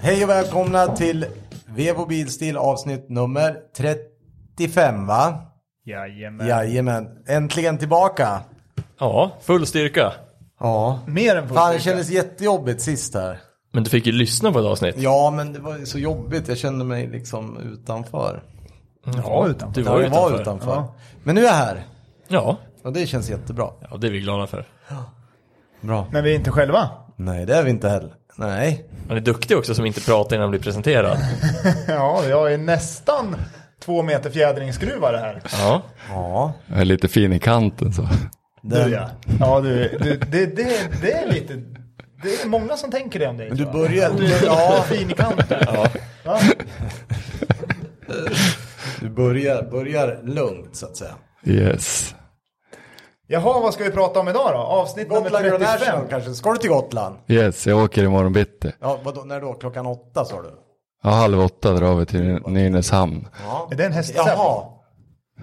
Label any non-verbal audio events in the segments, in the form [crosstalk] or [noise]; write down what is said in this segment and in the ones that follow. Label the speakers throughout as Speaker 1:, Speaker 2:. Speaker 1: Hej och välkomna till Vevo Bilstil avsnitt nummer 35 va?
Speaker 2: Jajamän.
Speaker 1: Jajamän, äntligen tillbaka.
Speaker 3: Ja, full styrka.
Speaker 1: Ja.
Speaker 2: Mer än
Speaker 1: Fan det
Speaker 2: fullstyrka.
Speaker 1: kändes jättejobbigt sist här.
Speaker 3: Men du fick ju lyssna på ett avsnitt.
Speaker 1: Ja men det var ju så jobbigt, jag kände mig liksom utanför.
Speaker 2: Ja, utan.
Speaker 3: Du
Speaker 1: Ja,
Speaker 3: var
Speaker 1: jag
Speaker 3: utanför.
Speaker 1: var utanför.
Speaker 2: Ja.
Speaker 1: Men nu är jag här
Speaker 3: Ja.
Speaker 1: och det känns jättebra.
Speaker 3: ja, det är vi glada för.
Speaker 1: Bra.
Speaker 2: Men vi är inte själva.
Speaker 1: Nej det är vi inte heller. Nej.
Speaker 3: Han är duktig också som inte pratar innan han
Speaker 2: [laughs]
Speaker 3: blir presenterad.
Speaker 2: Ja, jag är nästan två meter fjädringsskruvar här.
Speaker 3: Ja.
Speaker 1: Ja.
Speaker 4: Jag är lite fin i kanten så.
Speaker 2: Du
Speaker 1: Den,
Speaker 2: ja. Ja, du, du det, det, det är lite... Det är många som tänker det om dig.
Speaker 1: du
Speaker 2: tror jag.
Speaker 1: börjar-
Speaker 2: Du är
Speaker 1: ja.
Speaker 2: ja. fin i kanten. Va?
Speaker 1: du börjar, börjar lugnt så att säga.
Speaker 4: Yes.
Speaker 2: Jaha, vad ska vi prata om idag då? Avsnitt
Speaker 1: Gotland
Speaker 2: nummer
Speaker 1: International
Speaker 2: 35.
Speaker 1: kanske. Ska du till Gotland?
Speaker 4: Yes, jag åker imorgon bitti.
Speaker 1: Ja, vadå, när då? Klockan åtta sa du?
Speaker 4: Ja, halv åtta drar vi till Nynäshamn.
Speaker 1: Ja.
Speaker 2: Är det en hästtävling?
Speaker 1: Jaha.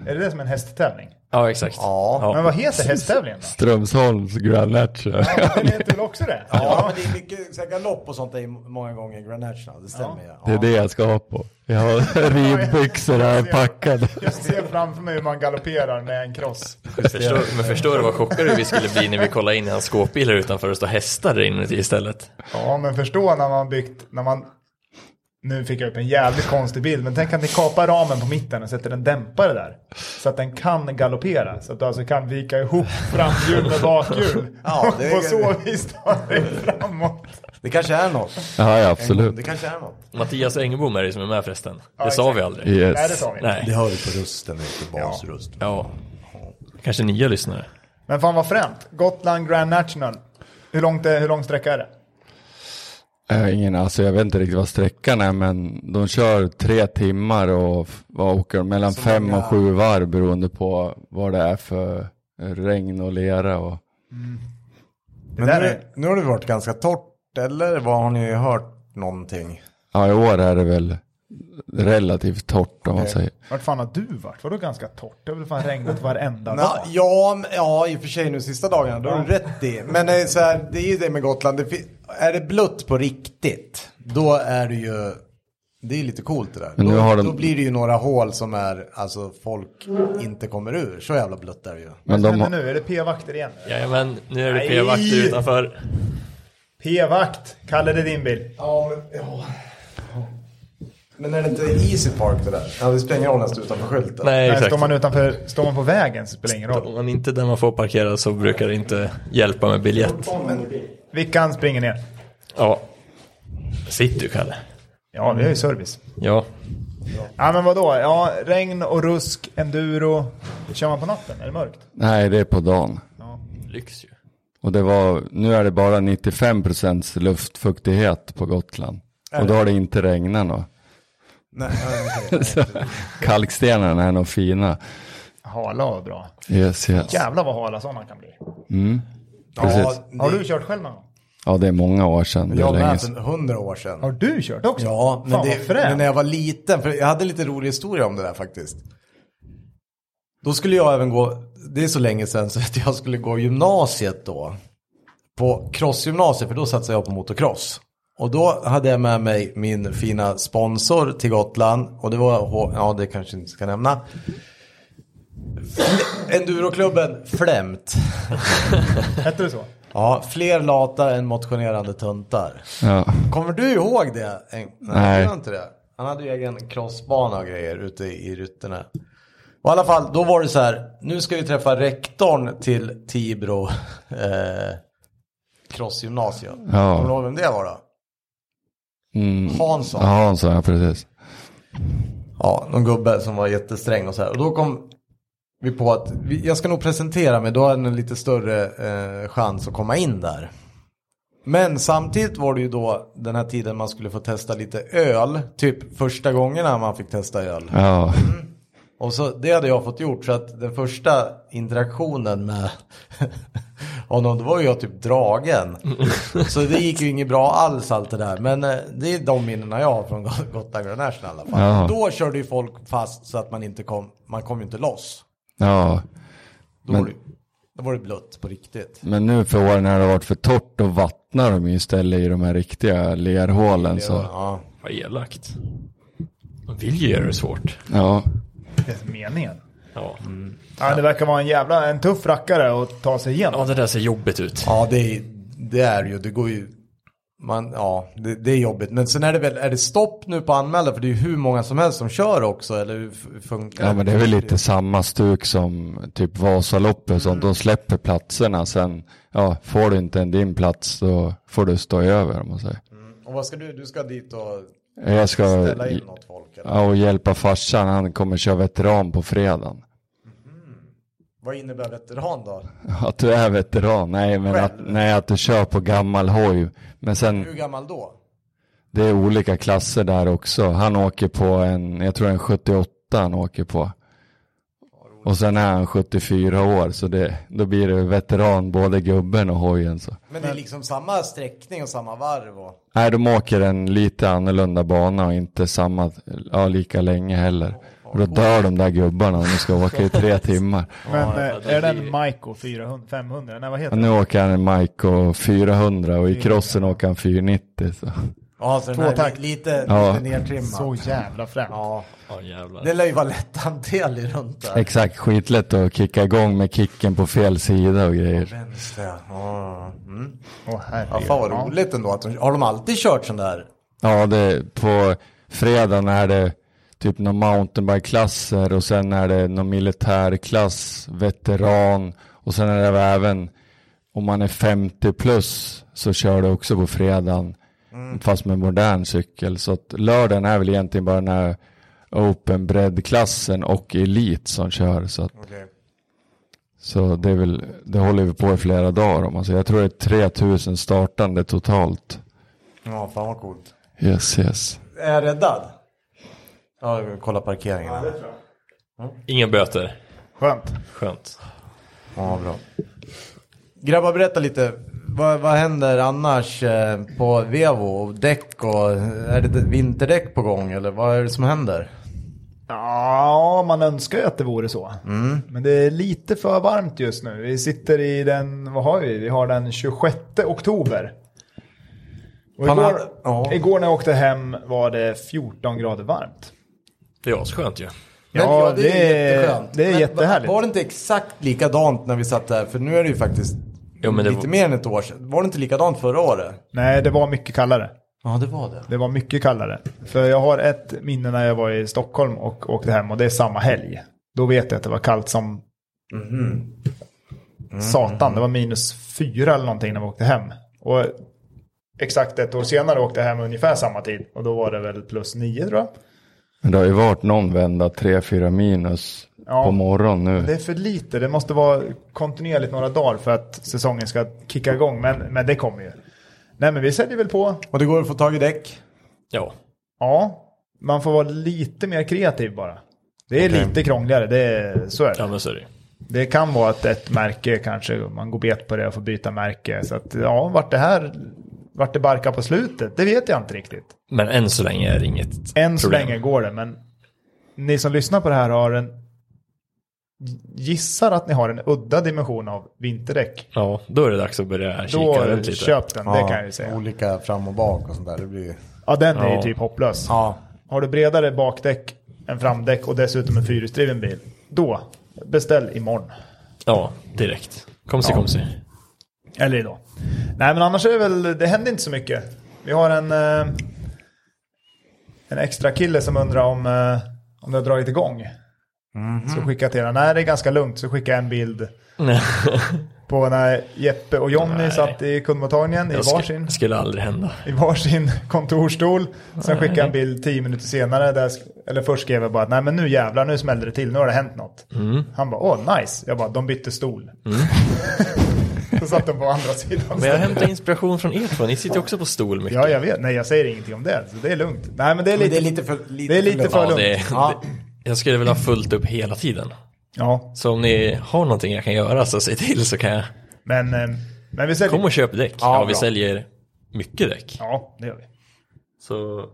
Speaker 2: Är det det som är en hästtävling?
Speaker 3: ja, exakt.
Speaker 1: Ja.
Speaker 2: Men vad heter hästtävlingen då?
Speaker 4: Strömsholms Grand National.
Speaker 2: Den heter väl också det?
Speaker 1: Ja, men det är mycket så här, galopp och sånt är många gånger i Grand National. Det stämmer ju.
Speaker 4: Det är det jag ska ha på. Jag har rivbyxor här packade.
Speaker 2: Jag ser framför mig hur man galopperar med en kross.
Speaker 3: Förstår, men förstår du vad chockade vi skulle bli när vi kollade in i hans skåpbil här utanför och stå hästar där inuti istället?
Speaker 2: Ja, men förstå när man byggt, när man... Nu fick jag upp en jävligt konstig bild, men tänk att ni kapar ramen på mitten och sätter en dämpare där. Så att den kan galoppera, så att du alltså kan vika ihop framhjul med bakhjul.
Speaker 1: Ja, det är-
Speaker 2: Och på så vis ta dig framåt.
Speaker 1: Det kanske är något.
Speaker 4: Ja, ja,
Speaker 1: Det
Speaker 4: absolut.
Speaker 1: kanske är något.
Speaker 3: Mattias Engbom är det som är med förresten. Det
Speaker 2: Ja,
Speaker 3: sa vi
Speaker 2: exakt.
Speaker 3: aldrig.
Speaker 2: Nej, det
Speaker 4: Yes.
Speaker 2: sa vi.
Speaker 3: Nej.
Speaker 1: hör du på rösten, vet du. Basröst.
Speaker 3: Ja. Kanske nya lyssnare.
Speaker 2: Men fan vad fränt. Gotland Grand National. Hur långt är, hur lång sträcka är det?
Speaker 4: Äh, ingen, alltså jag vet inte riktigt vad sträckan är men de kör tre timmar och f- vad åker de? mellan fem och sju varv beroende på vad det är för regn och lera och
Speaker 1: Men
Speaker 2: där
Speaker 1: nu,
Speaker 2: är-
Speaker 1: nu har det varit ganska torrt, eller? Vad har ni hört någonting?
Speaker 4: ja i år är det väl relativt torrt om man säger.
Speaker 2: Vart fan har du varit? Vadå ganska torrt? Det har väl fan regnat varenda
Speaker 1: Ja,
Speaker 2: dag?
Speaker 1: ja, men- ja, i och för sig nu sista dagarna, då har du rätt i. Men det är, så här, det är ju det med Gotland. Det, fi- är det blött på riktigt, då är det ju... Det är ju lite coolt det där.
Speaker 4: Men
Speaker 1: Då,
Speaker 4: nu har de-
Speaker 1: då blir det ju några hål som är, alltså folk inte kommer ur. Så jävla blött är det ju.
Speaker 2: Vad
Speaker 4: Men de
Speaker 2: händer
Speaker 4: har-
Speaker 2: nu? Är det P-vakter igen?
Speaker 3: Jajamän, nu är det
Speaker 2: Nej.
Speaker 3: p-vakter utanför.
Speaker 2: P-vakt. Kalle, det är din bil.
Speaker 1: Ja, men... Ja. Men är det inte Easy Park det där? Ja, det spelar ingen roll nästan utanför skylten.
Speaker 3: Nej,
Speaker 2: Nej,
Speaker 3: exakt.
Speaker 2: står man utanför, står man på vägen så spelar det ingen roll.
Speaker 3: Om man inte är där man får parkera så brukar det inte hjälpa med biljett.
Speaker 2: Vickan springer ner.
Speaker 3: Ja. Sitt du Kalle.
Speaker 2: Ja, vi har ju service.
Speaker 3: Ja.
Speaker 2: Ja, men vadå? Ja, regn och rusk, enduro. Kör man på natten? Är det mörkt?
Speaker 4: Nej, det är på dagen.
Speaker 2: Ja.
Speaker 3: Lyx ju.
Speaker 4: Och det var, nu är det bara 95% luftfuktighet på Gotland. Och då har det inte regnat nå.
Speaker 1: Nej, nej, nej.
Speaker 4: Kalkstenarna är nog fina.
Speaker 2: Hala var bra.
Speaker 4: Yes, yes.
Speaker 2: Jävlar vad hala sådana kan bli.
Speaker 4: Precis.
Speaker 1: Ja,
Speaker 2: Har
Speaker 1: det-
Speaker 2: du kört själv någon gång?
Speaker 4: Ja, det är många år sedan. Det är
Speaker 1: Jag
Speaker 4: länge
Speaker 1: med
Speaker 4: sedan.
Speaker 1: för hundra år sedan.
Speaker 2: Har du kört också?
Speaker 1: Ja, men,
Speaker 2: Fan,
Speaker 1: det,
Speaker 2: vad
Speaker 1: men
Speaker 2: fränt.
Speaker 1: när jag var liten, för jag hade lite rolig historia om det där faktiskt. Då skulle jag även gå, det är så länge sedan så [laughs] att jag skulle gå gymnasiet då. På crossgymnasiet, för då satsade jag på motocross. Och då hade jag med mig min fina sponsor till Gotland. Och det var, H- ja det kanske inte ska nämna. Fl- Enduroklubben Flämt.
Speaker 2: Hette det så?
Speaker 1: Ja, fler lata än motionerande tuntar.
Speaker 4: Ja.
Speaker 1: Kommer du ihåg det? Eng-
Speaker 4: Nej.
Speaker 1: jag gör inte det. Han hade ju egen crossbana och grejer ute i Ryttene. Och i alla fall, då var det så här. Nu ska vi träffa rektorn till Tibro [laughs] eh, crossgymnasium.
Speaker 4: Ja.
Speaker 1: Kommer du ihåg vem det var då?
Speaker 4: Mm.
Speaker 1: Hansson.
Speaker 4: Ja, han sa ja, precis.
Speaker 1: Ja, någon gubbe som var jättesträng och så här. Och då kom vi på att vi, jag ska nog presentera mig. Då har jag en lite större eh, chans att komma in där. Men samtidigt var det ju då den här tiden man skulle få testa lite öl. Typ första gångerna man fick testa öl.
Speaker 4: Ja,
Speaker 1: Och så det hade jag fått gjort. Så att den första interaktionen med [laughs] honom, då var ju jag typ
Speaker 4: [laughs]
Speaker 1: dragen. Så det gick ju inget bra alls allt det där. Men eh, det är de minnena jag har från Got- Gotland Grand National i alla fall.
Speaker 4: Ja.
Speaker 1: Då körde ju folk fast så att man inte kom, man kom ju inte loss.
Speaker 4: ja.
Speaker 1: Då var
Speaker 4: Men
Speaker 1: det- Då var det blött på riktigt.
Speaker 4: Men nu för åren när det har varit för torrt och vattnar de ju istället i de här riktiga lerhålen.
Speaker 1: Det var-
Speaker 4: Så,
Speaker 1: Ja.
Speaker 3: Vad elakt. De vill ju göra det svårt.
Speaker 4: ja.
Speaker 2: Det är meningen.
Speaker 3: Ja,
Speaker 2: Ja, det verkar vara en jävla en tuff rackare att ta sig igenom.
Speaker 3: ja det där ser jobbigt ut.
Speaker 1: Ja, det är, det är ju, det går ju, man, ja, det, det är jobbigt. Men sen är det väl, är det stopp nu på anmälda? För det är ju hur många som helst som kör också, eller hur f- funkar
Speaker 4: ja, men det är väl lite samma stuk som typ Vasaloppet och sånt.
Speaker 1: Mm.
Speaker 4: De släpper platserna. Sen ja, får du inte en din plats då får du stå över om man säger.
Speaker 1: Och vad ska du, du ska dit och
Speaker 4: Jag ska
Speaker 1: Mm. ställa in något folk? Eller?
Speaker 4: ja, och hjälpa farsan. Han kommer köra veteran på fredagen. [laughs]
Speaker 1: Vad innebär veteran då?
Speaker 4: Att du är veteran? Nej, men att, nej, att du kör på gammal hoj. Men sen,
Speaker 1: Hur gammal då?
Speaker 4: det är olika klasser där också. Han åker på en, jag tror en 78 han åker på. Och sen är han 74 år, så det, då blir det veteran både gubben och hojen. Så.
Speaker 1: Men det är liksom samma sträckning och samma varv och...
Speaker 4: Nej, de åker en lite annorlunda bana och inte samma, ja, lika länge heller. Och då dör de där gubbarna om de ska åka i tre timmar.
Speaker 2: Men
Speaker 3: Ja,
Speaker 2: eh,
Speaker 3: det
Speaker 2: är den
Speaker 3: blir-
Speaker 2: Maiko 400, 500? Nej, vad
Speaker 4: Ja,
Speaker 2: heter den?
Speaker 4: nu åker han en Maiko 400 och i crossen åker han 490. Så.
Speaker 1: Ja, så den
Speaker 2: Två
Speaker 1: här
Speaker 2: takt.
Speaker 1: li- lite,
Speaker 4: Ja.
Speaker 1: lite nertrimmad.
Speaker 2: Så jävla fränt.
Speaker 1: Ja,
Speaker 3: Ja, jävlar.
Speaker 1: det lär ju vara lätthanterlig runt där.
Speaker 4: Exakt, skitlätt att kicka igång med kicken på fel sida och grejer.
Speaker 1: Vänster, ja. ja. Mm.
Speaker 2: Åh, herregud.
Speaker 1: Ja, fan vad roligt ändå. Att de, har de alltid kört sån där?
Speaker 4: Ja, det, på fredagen är det typ någon mountainbike-klasser och sen är det någon militärklass, veteran och sen är det även om man är 50 plus så kör du också på fredagen fast med modern cykel. Så att lördagen är väl egentligen bara den här open breddklassen och elit som kör. Så att
Speaker 1: Okej.
Speaker 4: Så det, är väl, det håller vi på i flera dagar. Om man säger. Jag tror det är 3000 startande totalt.
Speaker 1: Ja, fan vad coolt.
Speaker 4: Yes, yes.
Speaker 1: Är jag räddad? Ja, jag vill kolla parkeringen. Ja,
Speaker 3: Inga böter.
Speaker 2: Skönt.
Speaker 3: Skönt.
Speaker 1: bra. Grabbar, berätta lite. Vad, vad händer annars eh, på Vevo? Och Däck och... Är det vinterdäck på gång eller vad är det som händer?
Speaker 2: Ja, man önskar ju att det vore så.
Speaker 1: Mm.
Speaker 2: Men det är lite för varmt just nu. Vi sitter i den, vad har vi? Vi har den 26 oktober. Och
Speaker 1: Fan,
Speaker 2: igår,
Speaker 1: ja.
Speaker 2: igår när jag åkte hem var det 14 grader varmt.
Speaker 3: Det är asskönt ju.
Speaker 1: Men
Speaker 2: Ja, det är-
Speaker 1: jätteskönt.
Speaker 2: det är
Speaker 1: Men
Speaker 2: jättehärligt.
Speaker 1: Var, var det inte exakt likadant när vi satt där? För nu är det ju faktiskt
Speaker 3: Jo, men det
Speaker 1: lite
Speaker 3: var-
Speaker 1: mer än ett år sedan. Var det inte likadant förra året?
Speaker 2: Nej, det var mycket kallare.
Speaker 1: Ja, det var det.
Speaker 2: Det var mycket kallare. För jag har ett minne när jag var i Stockholm och åkte hem och det är samma helg. Då vet jag att det var kallt som satan. Det var minus fyra eller någonting när vi åkte hem. Och exakt ett år senare åkte jag hem ungefär samma tid. Och då var det väl plus nio tror jag.
Speaker 4: Men det har ju varit någon vända 3-4 minus
Speaker 2: Ja.
Speaker 4: på morgonen nu.
Speaker 2: Det är för lite. Det måste vara kontinuerligt några dagar för att säsongen ska kicka igång. Men, men det kommer ju. Nej men vi säljer väl på.
Speaker 1: Och det går att få tag i däck.
Speaker 3: Ja.
Speaker 2: Ja, man får vara lite mer kreativ bara. Det är lite krångligare, det är, så är det.
Speaker 3: Ja, men så är det ju.
Speaker 2: Det kan vara att ett märke kanske, man går bet på det och får byta märke. Så att ja, vart det här, vart det barkar på slutet, det vet jag inte riktigt.
Speaker 3: Men än så länge är det inget
Speaker 2: Än så
Speaker 3: problem.
Speaker 2: länge går det, men ni som lyssnar på det här har en, gissar att ni har en udda dimension av vinterdäck.
Speaker 3: Ja, då är det dags att börja kika
Speaker 2: Då
Speaker 3: runt lite.
Speaker 2: köp den, det
Speaker 1: Ja,
Speaker 2: kan jag ju säga.
Speaker 1: Olika fram och bak och sånt där. Det blir...
Speaker 2: Ja, den är ju
Speaker 3: Ja.
Speaker 2: typ hopplös.
Speaker 1: Ja.
Speaker 2: Har du bredare bakdäck än framdäck och dessutom en fyrhjulsdriven bil, då beställ imorgon.
Speaker 3: Ja, direkt. Kom sig, kom sig.
Speaker 2: Eller idag. Nej, men annars är det väl, det händer inte så mycket. Vi har en, eh, en extra kille som undrar om, eh, om det har dragit igång.
Speaker 3: Mhm.
Speaker 2: Så skicka till honom. Nej, det är ganska lugnt. Så skicka en bild
Speaker 3: [laughs] Nej,
Speaker 2: på när Jeppe och Jonny
Speaker 3: Nej.
Speaker 2: satt i kundmottagningen i
Speaker 3: det sk-
Speaker 2: varsin,
Speaker 3: skulle aldrig hända.
Speaker 2: i varsin [laughs] kontorstol. Sen skicka en bild tio minuter senare. Där, sk- eller först skrev jag bara att nej men nu jävlar, nu smällde det till, nu har det hänt något.
Speaker 3: Mm.
Speaker 2: Han bara, åh nice. Jag bara, de bytte stol. [laughs] så satt de på andra sidan.
Speaker 3: Men jag hämtar inspiration från er två. Ni sitter ju också på stol mycket.
Speaker 2: Ja, jag vet. Nej, jag säger ingenting om det. Så det är lugnt. Nej, men det är
Speaker 1: Men
Speaker 2: lite...
Speaker 1: det är lite för... Lite
Speaker 2: Det är lite för-
Speaker 3: det,
Speaker 2: lugnt.
Speaker 1: Ja. [laughs]
Speaker 3: det, jag skulle vilja ha fullt upp hela tiden.
Speaker 2: Ja,
Speaker 3: Så om ni har någonting jag kan göra så säg till så kan jag.
Speaker 2: men, eh, men vi säljer...
Speaker 3: Kom och köp däck.
Speaker 1: Ja,
Speaker 3: Ja, vi
Speaker 1: bra.
Speaker 3: säljer mycket däck.
Speaker 2: Ja, det gör vi.
Speaker 3: Så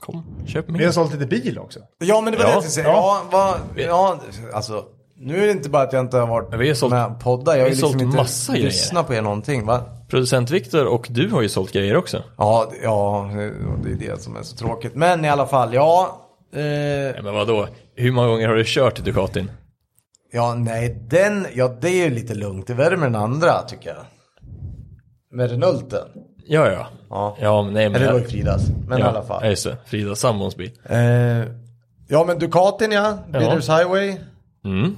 Speaker 3: kom, köp
Speaker 2: Vi har
Speaker 3: mer.
Speaker 2: sålt lite bil också.
Speaker 1: Ja, men det var
Speaker 3: Ja.
Speaker 1: det jag skulle säga. Ja, vad... Ja, alltså... Nu är det inte bara att jag inte har varit
Speaker 3: Men vi har sålt-
Speaker 1: med och poddar. Jag har
Speaker 3: vi
Speaker 1: ju
Speaker 3: har
Speaker 1: liksom
Speaker 3: sålt
Speaker 1: inte
Speaker 3: massa grejer.
Speaker 1: lyssnat på er någonting va?
Speaker 3: Producent Viktor och du har ju sålt grejer också.
Speaker 1: Ja, det- ja, det är det som är så tråkigt. Men i alla fall, ja. Eh,
Speaker 3: Nej, Men vadå? Hur många gånger har du kört Ducatin?
Speaker 1: ja, nej, den, ja det är ju lite lugnt. Det är värre med den andra tycker jag. Med Renulten.
Speaker 3: Ja, ja.
Speaker 1: Ja.
Speaker 3: ja men nej, men
Speaker 1: Eller det var ju
Speaker 3: jag-
Speaker 1: Fridas. Men
Speaker 3: ja,
Speaker 1: i alla fall.
Speaker 3: Ja, just det. Frida sambons bil.
Speaker 1: Eh, ja men Ducatin ja, Billers Highway.
Speaker 3: Mm.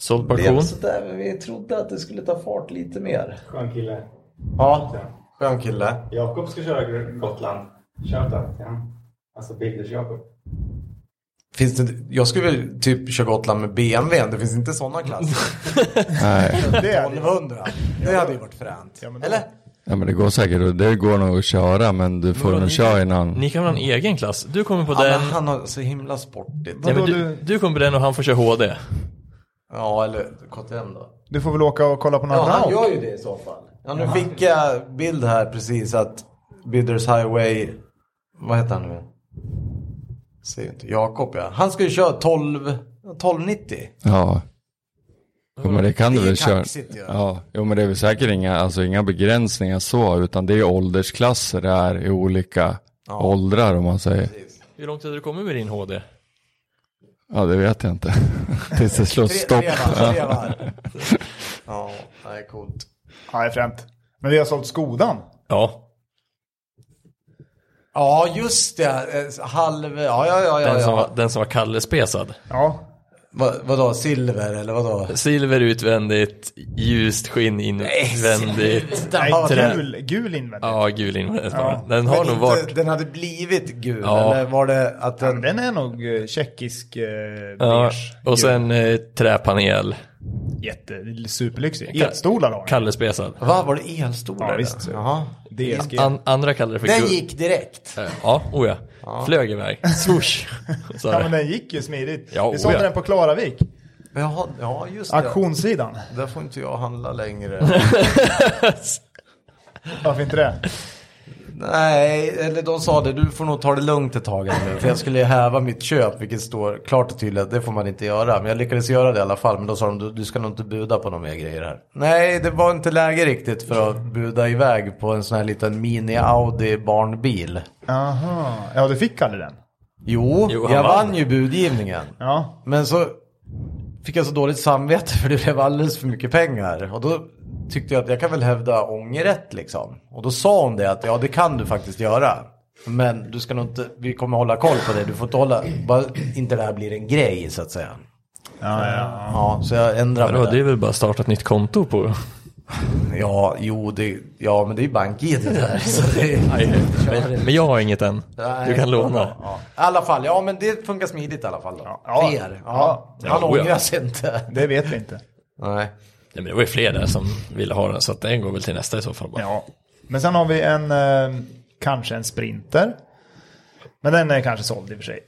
Speaker 3: Såld
Speaker 1: Det är
Speaker 3: pension.
Speaker 1: sådär, men vi trodde att det skulle ta fart lite mer.
Speaker 5: Skön kille.
Speaker 1: Ja, skön kille.
Speaker 5: Jakob ska köra Gotland. Shoutout till han. Alltså Bilders Jakob.
Speaker 1: Finns det, jag skulle väl typ köra Gotland med BMW, det finns inte sådana [laughs] klasser.
Speaker 4: Nej,
Speaker 2: [laughs] Det är det.
Speaker 1: 1200, det hade ju varit fränt.
Speaker 2: men då-
Speaker 1: Eller?
Speaker 4: ja, men det går säkert. och Det går nog att köra, men du får nog köra innan.
Speaker 3: Ni kan väl ha en egen klass? Du kommer på
Speaker 1: Ja, men
Speaker 3: den.
Speaker 1: han har så himla sportigt.
Speaker 3: Nej, men
Speaker 2: Vadå,
Speaker 3: du,
Speaker 2: du-
Speaker 3: du kommer på den och han får köra HD.
Speaker 1: Ja, eller KTM då.
Speaker 2: Du får väl åka och kolla på några
Speaker 1: Ja, han
Speaker 2: round.
Speaker 1: gör ju det i så fall. Ja, nu fick jag bild här precis att Bidders Highway, vad heter han nu igen? Ser ju inte, Jakob ja. Han ska ju köra 12, 1290.
Speaker 4: Ja. Jo, men det kan
Speaker 1: Det
Speaker 4: du
Speaker 1: är
Speaker 4: väl köra.
Speaker 1: kaxigt, ja.
Speaker 4: Ja, jo, men det är väl säkert inga, alltså, inga begränsningar så, utan det är åldersklasser där i olika åldrar om man säger.
Speaker 3: Hur långt hade du kommit med din HD?
Speaker 4: Ja, det vet jag inte. [laughs] Tills det slår stopp.
Speaker 1: varv, tre varv. Ja, det är coolt.
Speaker 2: Ja, det är fränt. Men vi har sålt Skodan.
Speaker 3: Ja,
Speaker 1: Ja, just det. Eh, Halv, ja, ja, ja. ja,
Speaker 3: den, Som,
Speaker 1: ja.
Speaker 3: var, den som var kallespesad.
Speaker 2: Ja,
Speaker 1: Va, vadå, silver eller vadå?
Speaker 3: Silver utvändigt, ljust skinn invändigt.
Speaker 2: nej,
Speaker 1: Ja, den-
Speaker 2: gul, gul invändigt.
Speaker 3: Ja, gul invändigt
Speaker 2: Ja.
Speaker 3: Den har
Speaker 1: Men
Speaker 3: nog
Speaker 1: inte-
Speaker 3: varit...
Speaker 1: Den hade blivit gul,
Speaker 3: Ja.
Speaker 1: eller var det att
Speaker 2: Ja,
Speaker 1: den...
Speaker 2: men Den är nog eh, tjeckisk eh,
Speaker 3: Ja,
Speaker 2: beige.
Speaker 3: och sen eh, träpanel.
Speaker 2: Jätte, superlyxig. Elstolar har den.
Speaker 3: Kallespesad.
Speaker 1: Va, var det elstolar?
Speaker 2: Ja,
Speaker 1: där?
Speaker 2: visst.
Speaker 1: Jaha.
Speaker 2: DSG.
Speaker 3: An, andra kallar det för
Speaker 1: Den
Speaker 3: guld.
Speaker 1: gick direkt.
Speaker 3: Eh, Ja, oh ja. Flög iväg. Swoosh. Så
Speaker 2: Ja,
Speaker 3: här.
Speaker 2: men den gick ju smidigt.
Speaker 3: Ja,
Speaker 2: vi sålde
Speaker 3: oja.
Speaker 2: den på Klaravik.
Speaker 1: Jaha, ja, just det.
Speaker 2: Auktionssidan.
Speaker 1: Där får inte jag handla längre. [laughs]
Speaker 2: Varför inte det?
Speaker 1: Nej, eller de sa det, du får nog ta det lugnt ett tag här nu. För jag skulle ju häva mitt köp, vilket står klart och tydligt att det får man inte göra. Men jag lyckades göra det i alla fall. Men då sa de, du, du ska nog inte buda på några mer grejer här. Nej, det var inte läge riktigt för att buda iväg på en sån här liten mini-Audi barnbil.
Speaker 2: Aha. Ja, du fick aldrig den?
Speaker 1: Jo,
Speaker 3: Jo, han
Speaker 1: jag vann.
Speaker 3: vann.
Speaker 1: ju budgivningen.
Speaker 2: Ja.
Speaker 1: Men så fick jag så dåligt samvete för det blev alldeles för mycket pengar. Och då tyckte jag att jag kan väl hävda ångerrätt liksom. Och då sa hon det att ja det kan du faktiskt göra. Men du ska nog inte, vi kommer hålla koll på det. Du får inte hålla, bara inte det här blir en grej så att säga.
Speaker 2: Ja, ja.
Speaker 1: Ja, så jag ändrar
Speaker 3: Vadå,
Speaker 1: mig
Speaker 3: det
Speaker 1: där.
Speaker 3: är väl bara att starta ett nytt konto på...
Speaker 1: Ja, jo, det, ja men det är ju bank-id det där. [laughs] Så det
Speaker 3: Men, men jag har inget än.
Speaker 1: Nej.
Speaker 3: Du kan låna.
Speaker 1: Ja, I alla fall, ja men det funkar smidigt i alla fall. Då.
Speaker 2: Ja.
Speaker 1: Fler. Ja. Han
Speaker 3: Ja, oja.
Speaker 1: ångrar sig inte. [laughs]
Speaker 2: Det vet vi inte.
Speaker 1: Nej.
Speaker 3: Nej, men det var ju fler där som ville ha den, så att den går väl till nästa i så fall bara.
Speaker 2: Ja. Men sen har vi en, eh, kanske en Sprinter. Men den är kanske såld i och för sig.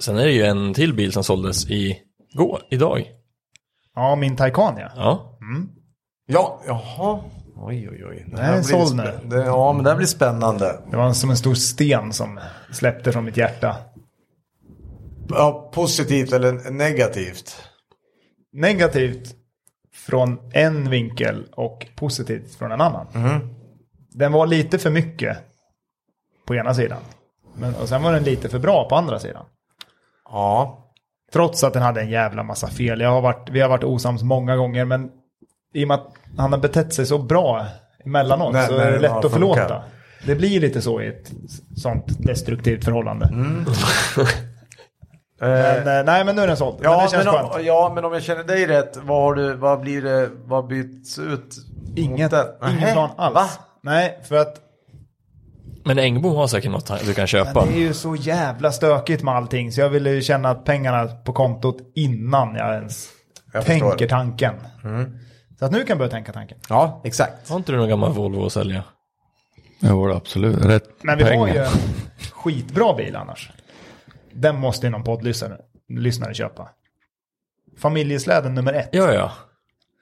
Speaker 3: Sen är det ju en till bil som såldes i går, idag.
Speaker 2: Ja, min Taycan ja.
Speaker 3: Ja.
Speaker 1: Ja, jaha. Oj, oj, oj. Det
Speaker 2: här är såld
Speaker 1: spä-
Speaker 2: nu.
Speaker 1: det, Ja, men det här blir spännande.
Speaker 2: Det var som en stor sten som släppte från mitt hjärta.
Speaker 1: Ja, positivt eller negativt?
Speaker 2: Negativt från en vinkel och positivt från en annan. Den var lite för mycket på ena sidan. Men, och sen var den lite för bra på andra sidan.
Speaker 1: Ja.
Speaker 2: Trots att den hade en jävla massa fel. Jag har varit, vi har varit osams många gånger men i och med att han har betett sig så bra emellanåt
Speaker 1: Nej,
Speaker 2: så
Speaker 1: nej,
Speaker 2: är det
Speaker 1: det
Speaker 2: lätt
Speaker 1: har
Speaker 2: att förlåta.
Speaker 1: funkat.
Speaker 2: Det blir lite så i ett sånt destruktivt förhållande. Men, eh, nej men nu är den såld. men
Speaker 1: Ja
Speaker 2: det känns
Speaker 1: men, om,
Speaker 2: skönt.
Speaker 1: ja, men om jag känner dig rätt, vad, har du, vad blir det, vad byts ut?
Speaker 2: Inget,
Speaker 1: den.
Speaker 2: ingen
Speaker 1: Nähä.
Speaker 2: plan alls.
Speaker 1: Va?
Speaker 2: Nej, för att
Speaker 3: Men Engbo har säkert något du kan
Speaker 2: men
Speaker 3: köpa.
Speaker 2: det är ju så jävla stökigt med allting så jag ville ju känna att pengarna på kontot innan jag ens
Speaker 1: Jag
Speaker 2: tänker
Speaker 1: förstår. Mm.
Speaker 2: tanken. Så att nu kan jag börja tänka tanken.
Speaker 1: Ja, exakt.
Speaker 3: Har inte du någon gammal Volvo att sälja?
Speaker 4: Jo, absolut. Rätt
Speaker 2: Men vi har ju
Speaker 4: pengar.
Speaker 2: en skitbra bil annars. Den måste ju någon poddlyssnare lyssnare köpa. Familjesläden nummer ett.
Speaker 3: Ja, ja.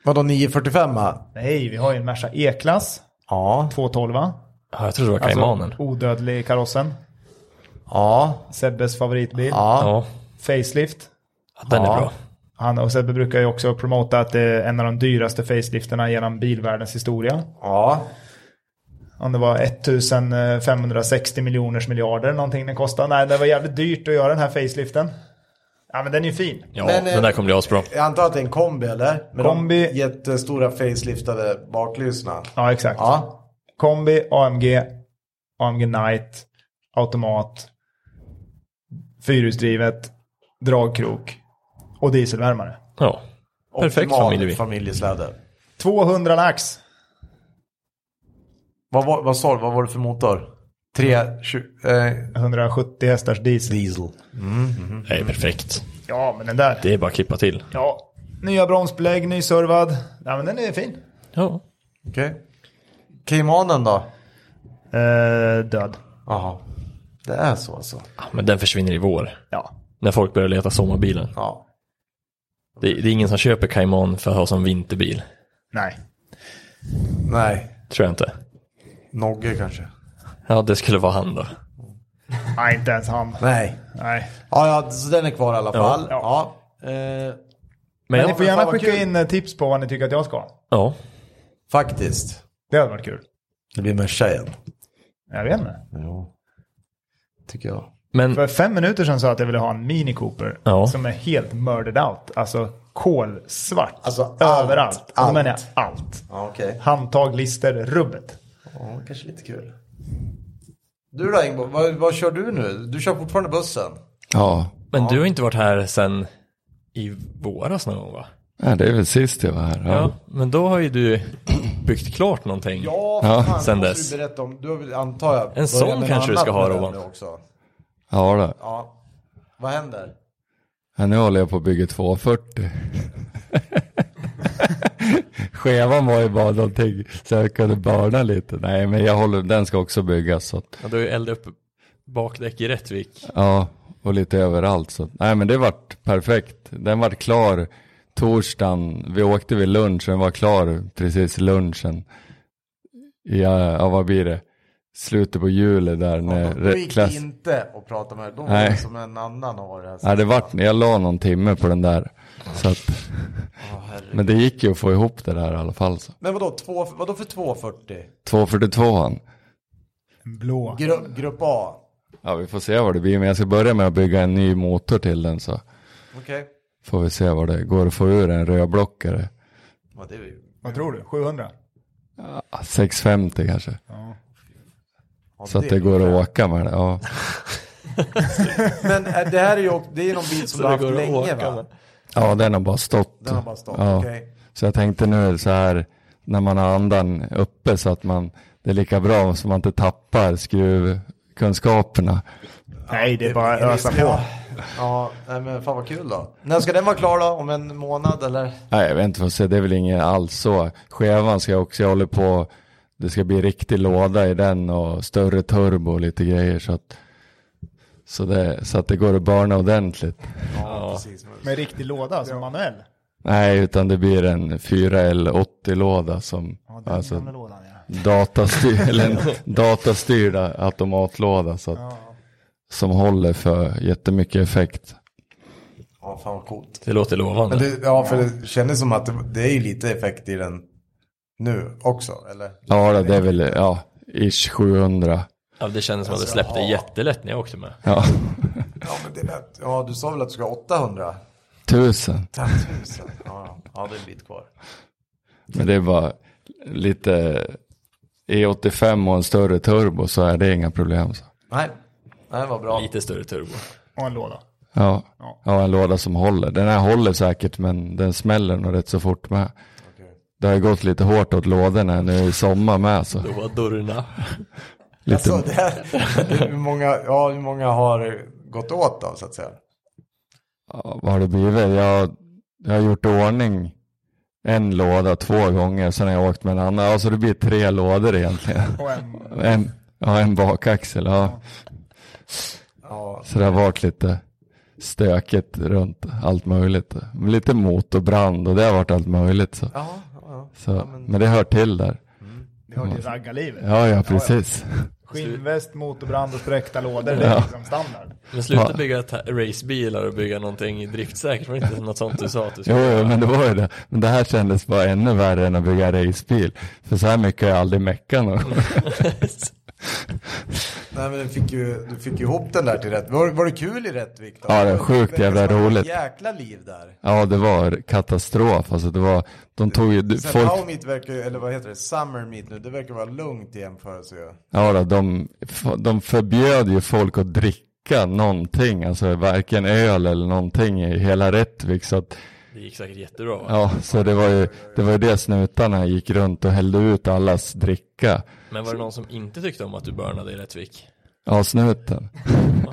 Speaker 1: Vadå 945? va?
Speaker 2: Nej, vi har ju en Merca E-klass.
Speaker 1: Ja.
Speaker 2: 212.
Speaker 3: ja jag tror det var
Speaker 1: Alltså,
Speaker 3: Caymanen.
Speaker 2: Odödlig i karossen.
Speaker 1: Ja.
Speaker 2: Sebbes favoritbil.
Speaker 1: Ja.
Speaker 3: Ja,
Speaker 2: Facelift.
Speaker 3: den är bra.
Speaker 2: Han och Sebbe brukar ju också promota att det är en av de dyraste facelifterna genom bilvärldens historia.
Speaker 1: Ja.
Speaker 2: Om det var 1560 miljoners miljarder någonting den kostade. Nej, det var jävligt dyrt att göra den här faceliften. Ja, men den är ju fin.
Speaker 3: Ja,
Speaker 1: Men, eh,
Speaker 3: den där kommer bli asbra.
Speaker 1: Jag antar att det är en kombi eller? Med
Speaker 2: Kombi.
Speaker 1: De jättestora faceliftade baklysena.
Speaker 2: Ja, exakt.
Speaker 1: Ja.
Speaker 2: Kombi, AMG, AMG Night, automat, fyrhjulsdrivet, dragkrok och dieselvärmare.
Speaker 3: Ja. Perfekt
Speaker 1: Optimal
Speaker 3: familjebil.
Speaker 1: familjesläde.
Speaker 2: 200 lax.
Speaker 1: Vad, var- vad sa du, vad var det för motor? 3, 20, eh,
Speaker 2: 170 hästars diesel.
Speaker 1: diesel.
Speaker 3: Det är perfekt.
Speaker 2: Ja, men den där.
Speaker 3: Det är bara att klippa till.
Speaker 2: Ja. Nya bromsbelägg, nyservad. Ja, men den är fin.
Speaker 3: Ja.
Speaker 1: Okej. Caymanen då?
Speaker 2: Eh, död.
Speaker 1: Jaha. Det är så alltså?
Speaker 3: Ja, Men den försvinner i vår.
Speaker 2: Ja.
Speaker 3: När folk börjar leta sommarbilar.
Speaker 1: Ja.
Speaker 3: Det, det är ingen som köper Cayman för att ha som vinterbil.
Speaker 2: Nej.
Speaker 1: Nej.
Speaker 3: Tror jag inte.
Speaker 1: Nogge kanske?
Speaker 3: Ja, det skulle vara han då.
Speaker 2: Nej, inte ens han.
Speaker 1: Nej.
Speaker 2: Nej.
Speaker 1: Ja, ja, så den är kvar i alla fall. Ja.
Speaker 2: Ja.
Speaker 1: Eh,
Speaker 3: Men,
Speaker 2: Men ni
Speaker 3: jag,
Speaker 2: får
Speaker 1: fan
Speaker 2: gärna
Speaker 1: vad
Speaker 2: skicka
Speaker 1: kul.
Speaker 2: in eh, tips på vad ni tycker att jag ska. ha.
Speaker 3: ja.
Speaker 1: faktiskt.
Speaker 2: Det hade varit kul.
Speaker 1: Det blir Merca igen.
Speaker 2: Jag vet inte.
Speaker 1: Jo. Tycker jag.
Speaker 3: Men
Speaker 2: För fem minuter sedan sa jag att jag ville ha en Mini Cooper.
Speaker 3: Ja.
Speaker 2: Som är helt murdered out. Alltså kolsvart.
Speaker 1: Alltså, allt,
Speaker 2: Överallt.
Speaker 1: allt.
Speaker 2: Då menar jag allt.
Speaker 1: Ja, okej.
Speaker 2: Handtag, lister, rubbet.
Speaker 1: Ja, kanske lite kul. Du då Ingbo, vad, vad kör du nu? Du kör fortfarande bussen?
Speaker 4: Ja,
Speaker 3: Men du har inte varit här sen i våras någon gång va?
Speaker 4: ja det är väl sist jag var här. Ja.
Speaker 3: Men då har ju du byggt klart någonting.
Speaker 1: Ja,
Speaker 4: Ja.
Speaker 1: fan,
Speaker 3: Sen
Speaker 1: måste
Speaker 3: dess.
Speaker 1: Du berätta om, du har väl, antar jag, börjat
Speaker 3: sån
Speaker 1: med
Speaker 3: kanske du
Speaker 1: annat
Speaker 3: ska ha,
Speaker 1: med den
Speaker 3: Robban.
Speaker 1: nu Också.
Speaker 4: Ja, då.
Speaker 1: Ja. Vad händer?
Speaker 4: ja, nu håller jag på att bygga [laughs] 240. Skevan var ju bara någonting så jag kunde börna lite. Nej, men jag håller, den ska också byggas. Så att,
Speaker 3: Ja, du har ju eldat upp bakdäck i Rättvik.
Speaker 4: ja, och lite överallt. Så att, nej, men det vart perfekt. Den vart klar torsdagen. Vi åkte vid lunch, den var klar precis lunchen. Ja, ja vad blir det? Slutet på juli där när
Speaker 1: Då gick det
Speaker 4: klass-
Speaker 1: inte att prata med dem. De var
Speaker 4: Nej.
Speaker 1: som en annan har varit här.
Speaker 4: Ja, det vart, jag la någon timme på den där. Så att, men det gick ju att få ihop det där i alla fall. Så.
Speaker 1: Men vadå, två, vadå för 240?
Speaker 4: 242an.
Speaker 2: En blå.
Speaker 1: Gru, grupp A?
Speaker 4: Ja, vi får se vad det blir. Men jag ska börja med att bygga en ny motor till den så
Speaker 1: Okej.
Speaker 4: får vi se vad det går att få ur en rödblockare.
Speaker 1: Ja, det är ju...
Speaker 2: Vad tror du? 700?
Speaker 4: Ja, 650 kanske.
Speaker 1: ja,
Speaker 4: Så att det går att åka med det. Ja,
Speaker 1: Men är- det här är ju också- det är någon bil som du har haft länge va?
Speaker 4: ja den har bara stått.
Speaker 1: Den har bara stått, okej.
Speaker 4: Så jag tänkte nu så här när man har andan uppe så att man det är lika bra så man inte tappar skruvkunskaperna.
Speaker 2: Nej, det är bara att ösa på.
Speaker 1: Ja, ja nej, men fan vad kul då. När ska den vara klar då? Om en månad eller?
Speaker 4: Nej, jag vet inte vad säga. Det är väl inget alls så. Skevan ska jag också, jag håller på, det ska bli riktig låda i den och större turbo och lite grejer så att så, det, så att det går att barna ordentligt.
Speaker 1: Ja, precis.
Speaker 2: Med riktig låda, som manuell.
Speaker 4: Nej, utan det blir en 4L80-låda som,
Speaker 2: den
Speaker 4: alltså
Speaker 2: gamla lådan ja.
Speaker 4: datastyr, eller en datastyrd automatlåda så att, som håller för jättemycket effekt.
Speaker 1: Ja, fan vad coolt.
Speaker 3: Det låter lovande.
Speaker 1: Men det, ja, för det kändes som att det, det är ju lite effekt i den nu också, eller?
Speaker 4: Ja, det är väl, ja, ish 700.
Speaker 3: Ja, det kändes som att det
Speaker 4: Alltså,
Speaker 3: släppte jättelätt när jag åkte med.
Speaker 4: Ja,
Speaker 1: Ja, men det lät, ja du sa väl att du ska ha 800?
Speaker 4: 1000.
Speaker 1: 1000. [laughs] Ja, ja. ja, det är en bit kvar.
Speaker 4: Men det är bara lite E85 och en större turbo så är det inga problem. Så.
Speaker 1: Nej, nej vad bra.
Speaker 3: Lite större turbo.
Speaker 2: Och en låda.
Speaker 4: Ja. ja, en låda som håller. Den här håller säkert men den smäller nog rätt så fort med.
Speaker 1: Okej.
Speaker 4: Det har ju gått lite hårt åt lådorna nu i sommar med
Speaker 3: Alltså-
Speaker 4: så.
Speaker 3: Lådorna.
Speaker 4: Lite,
Speaker 1: Alltså, det här, hur, många, ja, hur många har gått åt då, så att säga?
Speaker 4: ja, vad har det blivit? Jag, jag har gjort i ordning en låda två gånger sen har jag åkt med en annan. Ja, så det blir tre lådor egentligen.
Speaker 2: Och en...
Speaker 4: En, ja, en bakaxel. Ja.
Speaker 1: Ja,
Speaker 4: Så det har varit lite stökigt runt allt möjligt. Lite motorbrand och det har varit allt möjligt. Så.
Speaker 1: ja, ja.
Speaker 4: Så, men... det hör till där.
Speaker 2: Det hör till raggarlivet.
Speaker 4: Ja, ja, precis.
Speaker 2: Skinnväst, motorbrand och spräckta lådor. Det är liksom standard.
Speaker 3: Men sluta
Speaker 4: Ja.
Speaker 3: bygga ta- racebilar och bygga någonting driftsäkert. Var det inte något sånt du sa att du
Speaker 4: Jo,
Speaker 3: skulle
Speaker 4: jo,
Speaker 3: göra?
Speaker 4: men det var ju det. Men det här kändes bara ännu värre än att bygga racebil. För så här mycket har jag aldrig meckat någon.
Speaker 1: Mm. Nej men du fick, ju, du fick ju ihop den där till rätt. Var, var det kul i Rättvik då?
Speaker 4: Ja, det var sjukt jävla
Speaker 1: Det var ett
Speaker 4: roligt.
Speaker 1: Jäkla liv där.
Speaker 4: Ja, det var katastrof. Alltså det var, de tog ju,
Speaker 1: Sen
Speaker 4: folk,
Speaker 1: Power Meet verkar ju, eller vad heter det, Summer Meet nu, det verkar vara lugnt i jämförelse ju.
Speaker 4: ja då, de, de förbjöd ju folk att dricka någonting. Alltså varken öl eller någonting i hela Rättvik. Så att,
Speaker 3: Det gick säkert jättebra. va?
Speaker 4: ja, så det var ju, det var ju det snutarna gick runt och hällde ut allas dricka.
Speaker 3: Men var det någon som inte tyckte om att du burnade i Rättvik?
Speaker 4: Ja, snuten.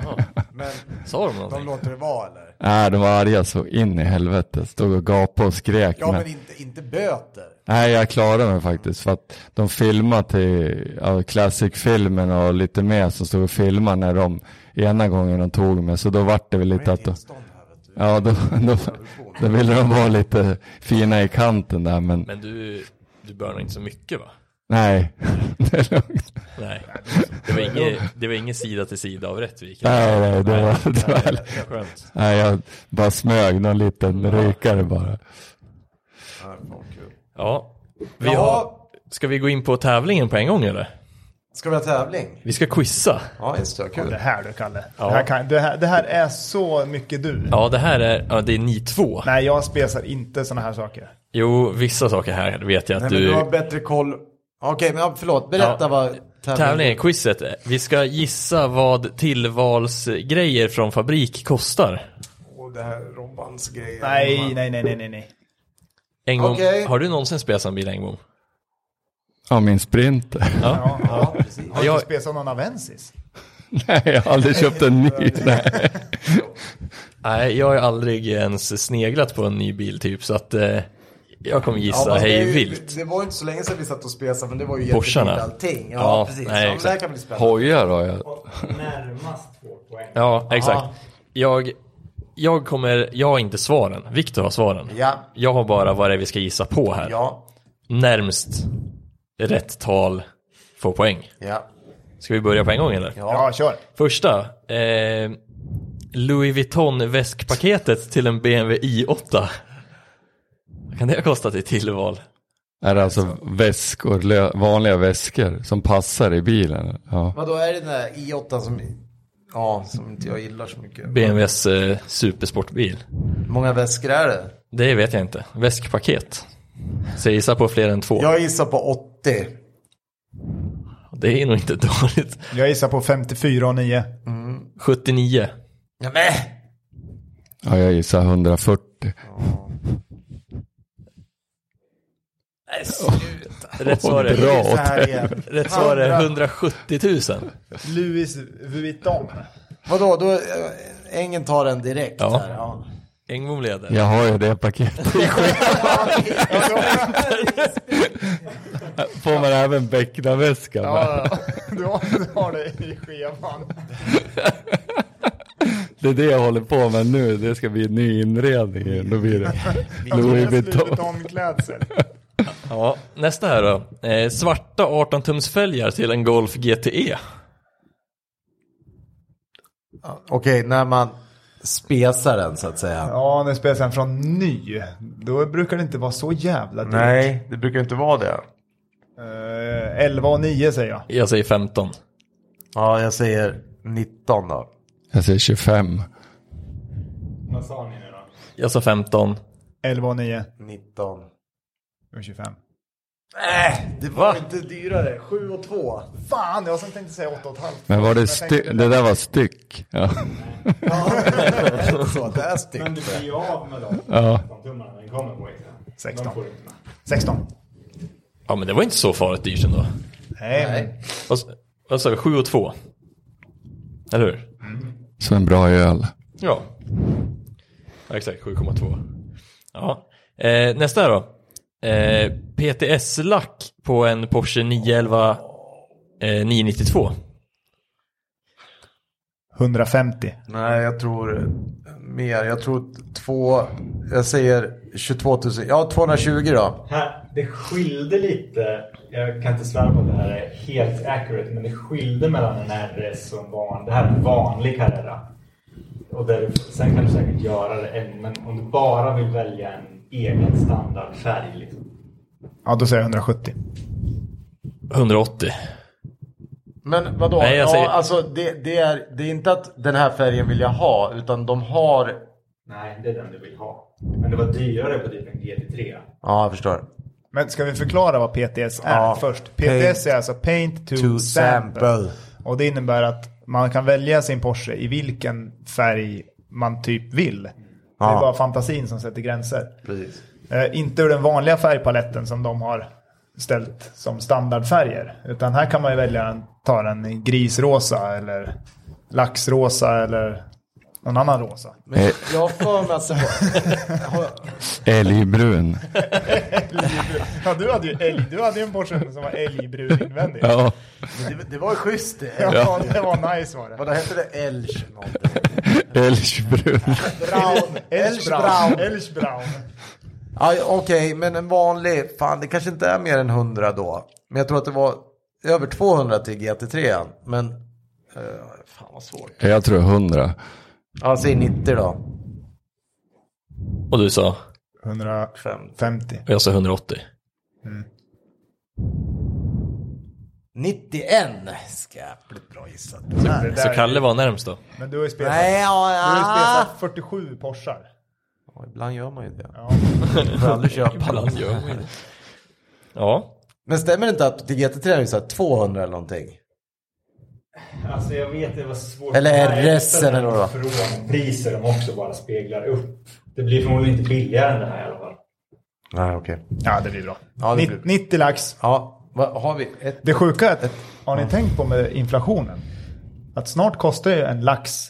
Speaker 3: Jaha.
Speaker 1: Men
Speaker 3: Sa de
Speaker 1: de
Speaker 3: någonting?
Speaker 1: låter det vara eller?
Speaker 4: Nej, Äh, de var arga så in i helvete. Stod och gapade och skrek.
Speaker 1: Ja
Speaker 4: men-
Speaker 1: men inte, inte böter.
Speaker 4: Nej, jag klarade mig faktiskt. För att de filmade till ja, Classic-filmen och lite mer som stod och filmade när de ena gången de tog mig. Så då vart det väl
Speaker 1: Det
Speaker 4: lite
Speaker 1: är
Speaker 4: att de,
Speaker 1: tillstånd här vet du.
Speaker 4: ja, då, då, då ville de vara lite fina i kanten där. Men
Speaker 3: Men du, du burnade inte så mycket va?
Speaker 4: nej, [laughs] det är lugnt.
Speaker 3: Nej. Det var inget, det var inget sida till sida av Rättvik?
Speaker 4: Nej, nej, det var, det var,
Speaker 3: Skönt.
Speaker 4: nej jag bara smög någon liten rykare bara.
Speaker 1: Ja, fan, kul.
Speaker 3: Ja. Vi har,
Speaker 1: Jaha,
Speaker 3: ska vi gå in på tävlingen på en gång eller?
Speaker 1: ska vi ha tävling?
Speaker 3: Vi ska quizza.
Speaker 1: Ja, just det,
Speaker 2: Det
Speaker 1: kul.
Speaker 2: här du, Kalle.
Speaker 3: Ja.
Speaker 2: Det, här kan, det, här, det här är så mycket du.
Speaker 3: Ja, det här är, ja, det är ni två.
Speaker 2: Nej, jag spesar inte sådana här saker.
Speaker 3: Jo, vissa saker här vet jag
Speaker 1: Nej
Speaker 3: att
Speaker 1: men du
Speaker 3: du...
Speaker 1: har bättre koll. Okej, men ja, förlåt, berätta
Speaker 3: Ja.
Speaker 1: vad tävlingen
Speaker 3: Tävlingen, quizet. är. Vi ska gissa vad tillvalsgrejer från fabrik kostar.
Speaker 1: Åh, det här Robbans grejer.
Speaker 2: Nej, nej, nej, nej, nej. nej.
Speaker 3: Engblom,
Speaker 1: Okej.
Speaker 3: har du någonsin spesat en bil Engblom?
Speaker 4: Ja, min sprinter.
Speaker 2: Ja, ja.
Speaker 1: precis.
Speaker 2: Har du
Speaker 3: Jag-
Speaker 2: inte spesat någon Avensis?
Speaker 4: [laughs] Nej, jag har aldrig köpt en ny. Nej.
Speaker 3: Nej, jag har aldrig ens sneglat på en ny bil typ, så att eh, jag kommer
Speaker 1: Ja,
Speaker 3: gissa
Speaker 1: fast det är
Speaker 3: hej
Speaker 1: ju-
Speaker 3: vilt.
Speaker 1: Det var ju inte så länge sedan vi satt och spesade men det var ju
Speaker 3: Borsarna.
Speaker 1: jättefint allting. Ja,
Speaker 3: Ja,
Speaker 1: precis.
Speaker 3: nej,
Speaker 1: ja, men det här
Speaker 3: exakt.
Speaker 1: kan bli spännande.
Speaker 4: Hojar har jag.
Speaker 5: Och närmast två poäng.
Speaker 3: Ja, exakt. Jag, jag kommer, jag har inte svaren. Viktor har svaren.
Speaker 1: Ja.
Speaker 3: Jag har bara vad det är vi ska gissa på här.
Speaker 1: Ja,
Speaker 3: Närmst rätt tal får poäng.
Speaker 1: ja,
Speaker 3: Ska vi börja på en gång eller?
Speaker 2: Ja, kör.
Speaker 3: Första. Eh, Louis Vuitton väskpaketet till en BMW i8. Vad kan det ha kostat i tillval?
Speaker 4: Är det alltså väskor, lö- vanliga väskor som passar i bilen? Ja.
Speaker 1: Vadå är det den där i8 som, ja, som inte jag gillar så mycket?
Speaker 3: BMWs eh, supersportbil.
Speaker 1: Många väskor är det?
Speaker 3: Det vet jag inte. Väskpaket. Så jag gissar på fler än två.
Speaker 1: Jag gissar på 80.
Speaker 3: Det är nog inte [laughs] dåligt.
Speaker 2: Jag gissar på 54 och 9.
Speaker 3: 79.
Speaker 1: Ja, men.
Speaker 4: ja, jag gissar 140.
Speaker 1: Nej, sluta.
Speaker 3: Rätt svar
Speaker 1: Det
Speaker 3: är,
Speaker 4: Bra.
Speaker 1: är så här igen.
Speaker 3: rätt svar är
Speaker 1: Andra.
Speaker 3: 170 000.
Speaker 2: Louis Vuitton.
Speaker 1: Vadå, då, eh, Engen tar den direkt
Speaker 3: Ja.
Speaker 1: ja. där. Ja.
Speaker 3: Engblom leder.
Speaker 4: Jag har ju det paketet. Får man även Beckna-väskan?
Speaker 2: Ja, du har, du har det i scheman.
Speaker 4: Det är det jag håller på med nu. Det ska bli en ny inredning. Då blir det Louis Vuitton.
Speaker 2: Vuitton-klädsel.
Speaker 3: Ja, nästa här då. Eh, svarta 18-tumsfälgar till en Golf E. GTE.
Speaker 1: Okej, när man spesar den så att säga.
Speaker 2: Ja, nu spesar han från ny. Då brukar det inte vara så jävla dyrt.
Speaker 1: Nej, det brukar inte vara det.
Speaker 2: Eh, 11 och 9 säger jag.
Speaker 3: Jag säger 15.
Speaker 1: Ja, jag säger 19 då.
Speaker 4: Jag säger 25.
Speaker 5: Vad sa ni nu då?
Speaker 3: Jag sa 15.
Speaker 2: 11 och 9.
Speaker 1: 19.
Speaker 2: Och 25.
Speaker 1: Äh, Det var inte dyrare. 7 och 2.
Speaker 2: Fan, jag som tänkte säga 8 och ett halvt.
Speaker 4: Men var det
Speaker 2: Jag tänkte-
Speaker 4: styck? Det där var styck. Ja.
Speaker 1: Så det är
Speaker 5: Men du
Speaker 1: styggt.
Speaker 5: blir ju av med dem.
Speaker 4: Ja.
Speaker 5: De tummarna, den kommer på extra.
Speaker 2: 16.
Speaker 5: De får du inte med.
Speaker 2: 16.
Speaker 3: Ja, men det var inte så farligt dyrt ändå.
Speaker 2: Nej, men
Speaker 1: Nej.
Speaker 3: Vad s- Vad sa vi? 7 och 2? Eller hur?
Speaker 4: Som en bra öl.
Speaker 3: Ja. ja exakt, 7,2. Ja. Eh, nästa här då. Eh, PTS-lack på en Porsche 911 eh, 992.
Speaker 2: 150.
Speaker 1: Nej, jag tror mer. Jag tror två. Jag säger 22 000, ja 220 då.
Speaker 5: Här, det skilde lite, jag kan inte svära på att det här är helt accurate, men det skilde mellan en RS och en van. Det här är en vanlig Carrera. Och där, sen kan du säkert göra det, en- men om du bara vill välja en egen standardfärg. Liksom.
Speaker 2: Ja, då säger jag 170.
Speaker 3: 180.
Speaker 1: Men vadå?
Speaker 3: Nej, jag säger-
Speaker 1: ja, alltså, det, det, är, det är inte att den här färgen vill jag ha, utan de har...
Speaker 5: Nej, det är den du vill ha. Men det var dyrare på typ en GT3.
Speaker 1: Ja, jag förstår.
Speaker 2: Men ska vi förklara vad PTS är
Speaker 1: Ja.
Speaker 2: först? PTS
Speaker 1: Paint
Speaker 2: är alltså Paint to,
Speaker 1: to
Speaker 2: sample.
Speaker 1: Sample.
Speaker 2: Och det innebär att man kan välja sin Porsche i vilken färg man typ vill. Det
Speaker 1: Ja.
Speaker 2: är bara fantasin som sätter gränser.
Speaker 1: Precis.
Speaker 2: Eh, inte ur den vanliga färgpaletten som de har ställt som standardfärger. Utan här kan man ju välja en, ta den i grisrosa eller laxrosa eller någon annan rosa.
Speaker 1: Men jag har för mig att
Speaker 3: [laughs]
Speaker 1: det var...
Speaker 4: Älgbrun.
Speaker 2: Ja, du hade ju, älg, du hade ju en Porsche som var älgbrun invändigt.
Speaker 4: Ja.
Speaker 1: Det, det var ju schysst det.
Speaker 2: Ja, det var nice var det.
Speaker 1: Vad hette det? Elch någonting.
Speaker 4: Älgbrun.
Speaker 1: Brown. Elch
Speaker 2: Elchbraun.
Speaker 1: Brown.
Speaker 2: Elchbraun.
Speaker 1: Ja, Okej, men en vanlig. Fan, det kanske inte är mer än 100 då. Men jag tror att det var över 200 till GT3. Men... eh, fan vad svårt.
Speaker 4: Jag tror 100.
Speaker 1: Ja, säg 90 då.
Speaker 3: Och du sa?
Speaker 2: 150.
Speaker 3: Och jag sa 180.
Speaker 1: 91. Skapligt bra gissat.
Speaker 2: Det
Speaker 3: Så
Speaker 2: där-
Speaker 3: Kalle var närmst då.
Speaker 2: Men du har ju spelat,
Speaker 1: Nej, ja,
Speaker 2: du har ju
Speaker 1: ja.
Speaker 2: spelat 47 Porschar.
Speaker 1: ja. Ibland gör man ju det.
Speaker 2: Ja.
Speaker 1: [laughs] Får aldrig köpa
Speaker 3: Pallan gör man ju det. Ja.
Speaker 1: Men stämmer det inte att till GT3 är det så här 200 eller någonting?
Speaker 5: Alltså jag vet det var svårt.
Speaker 1: Eller
Speaker 5: att hitta
Speaker 1: RS eller något då.
Speaker 5: Från priser de också bara speglar upp. Det blir förmodligen inte billigare än det här i alla fall.
Speaker 1: Nej, okej.
Speaker 2: ja, det blir bra.
Speaker 1: Ja, det blir-
Speaker 2: Nitt- 90 lax.
Speaker 1: Ja, vad har vi? Ett...
Speaker 2: Det sjuka är att, har ni tänkt på med inflationen? Att snart kostar ju en lax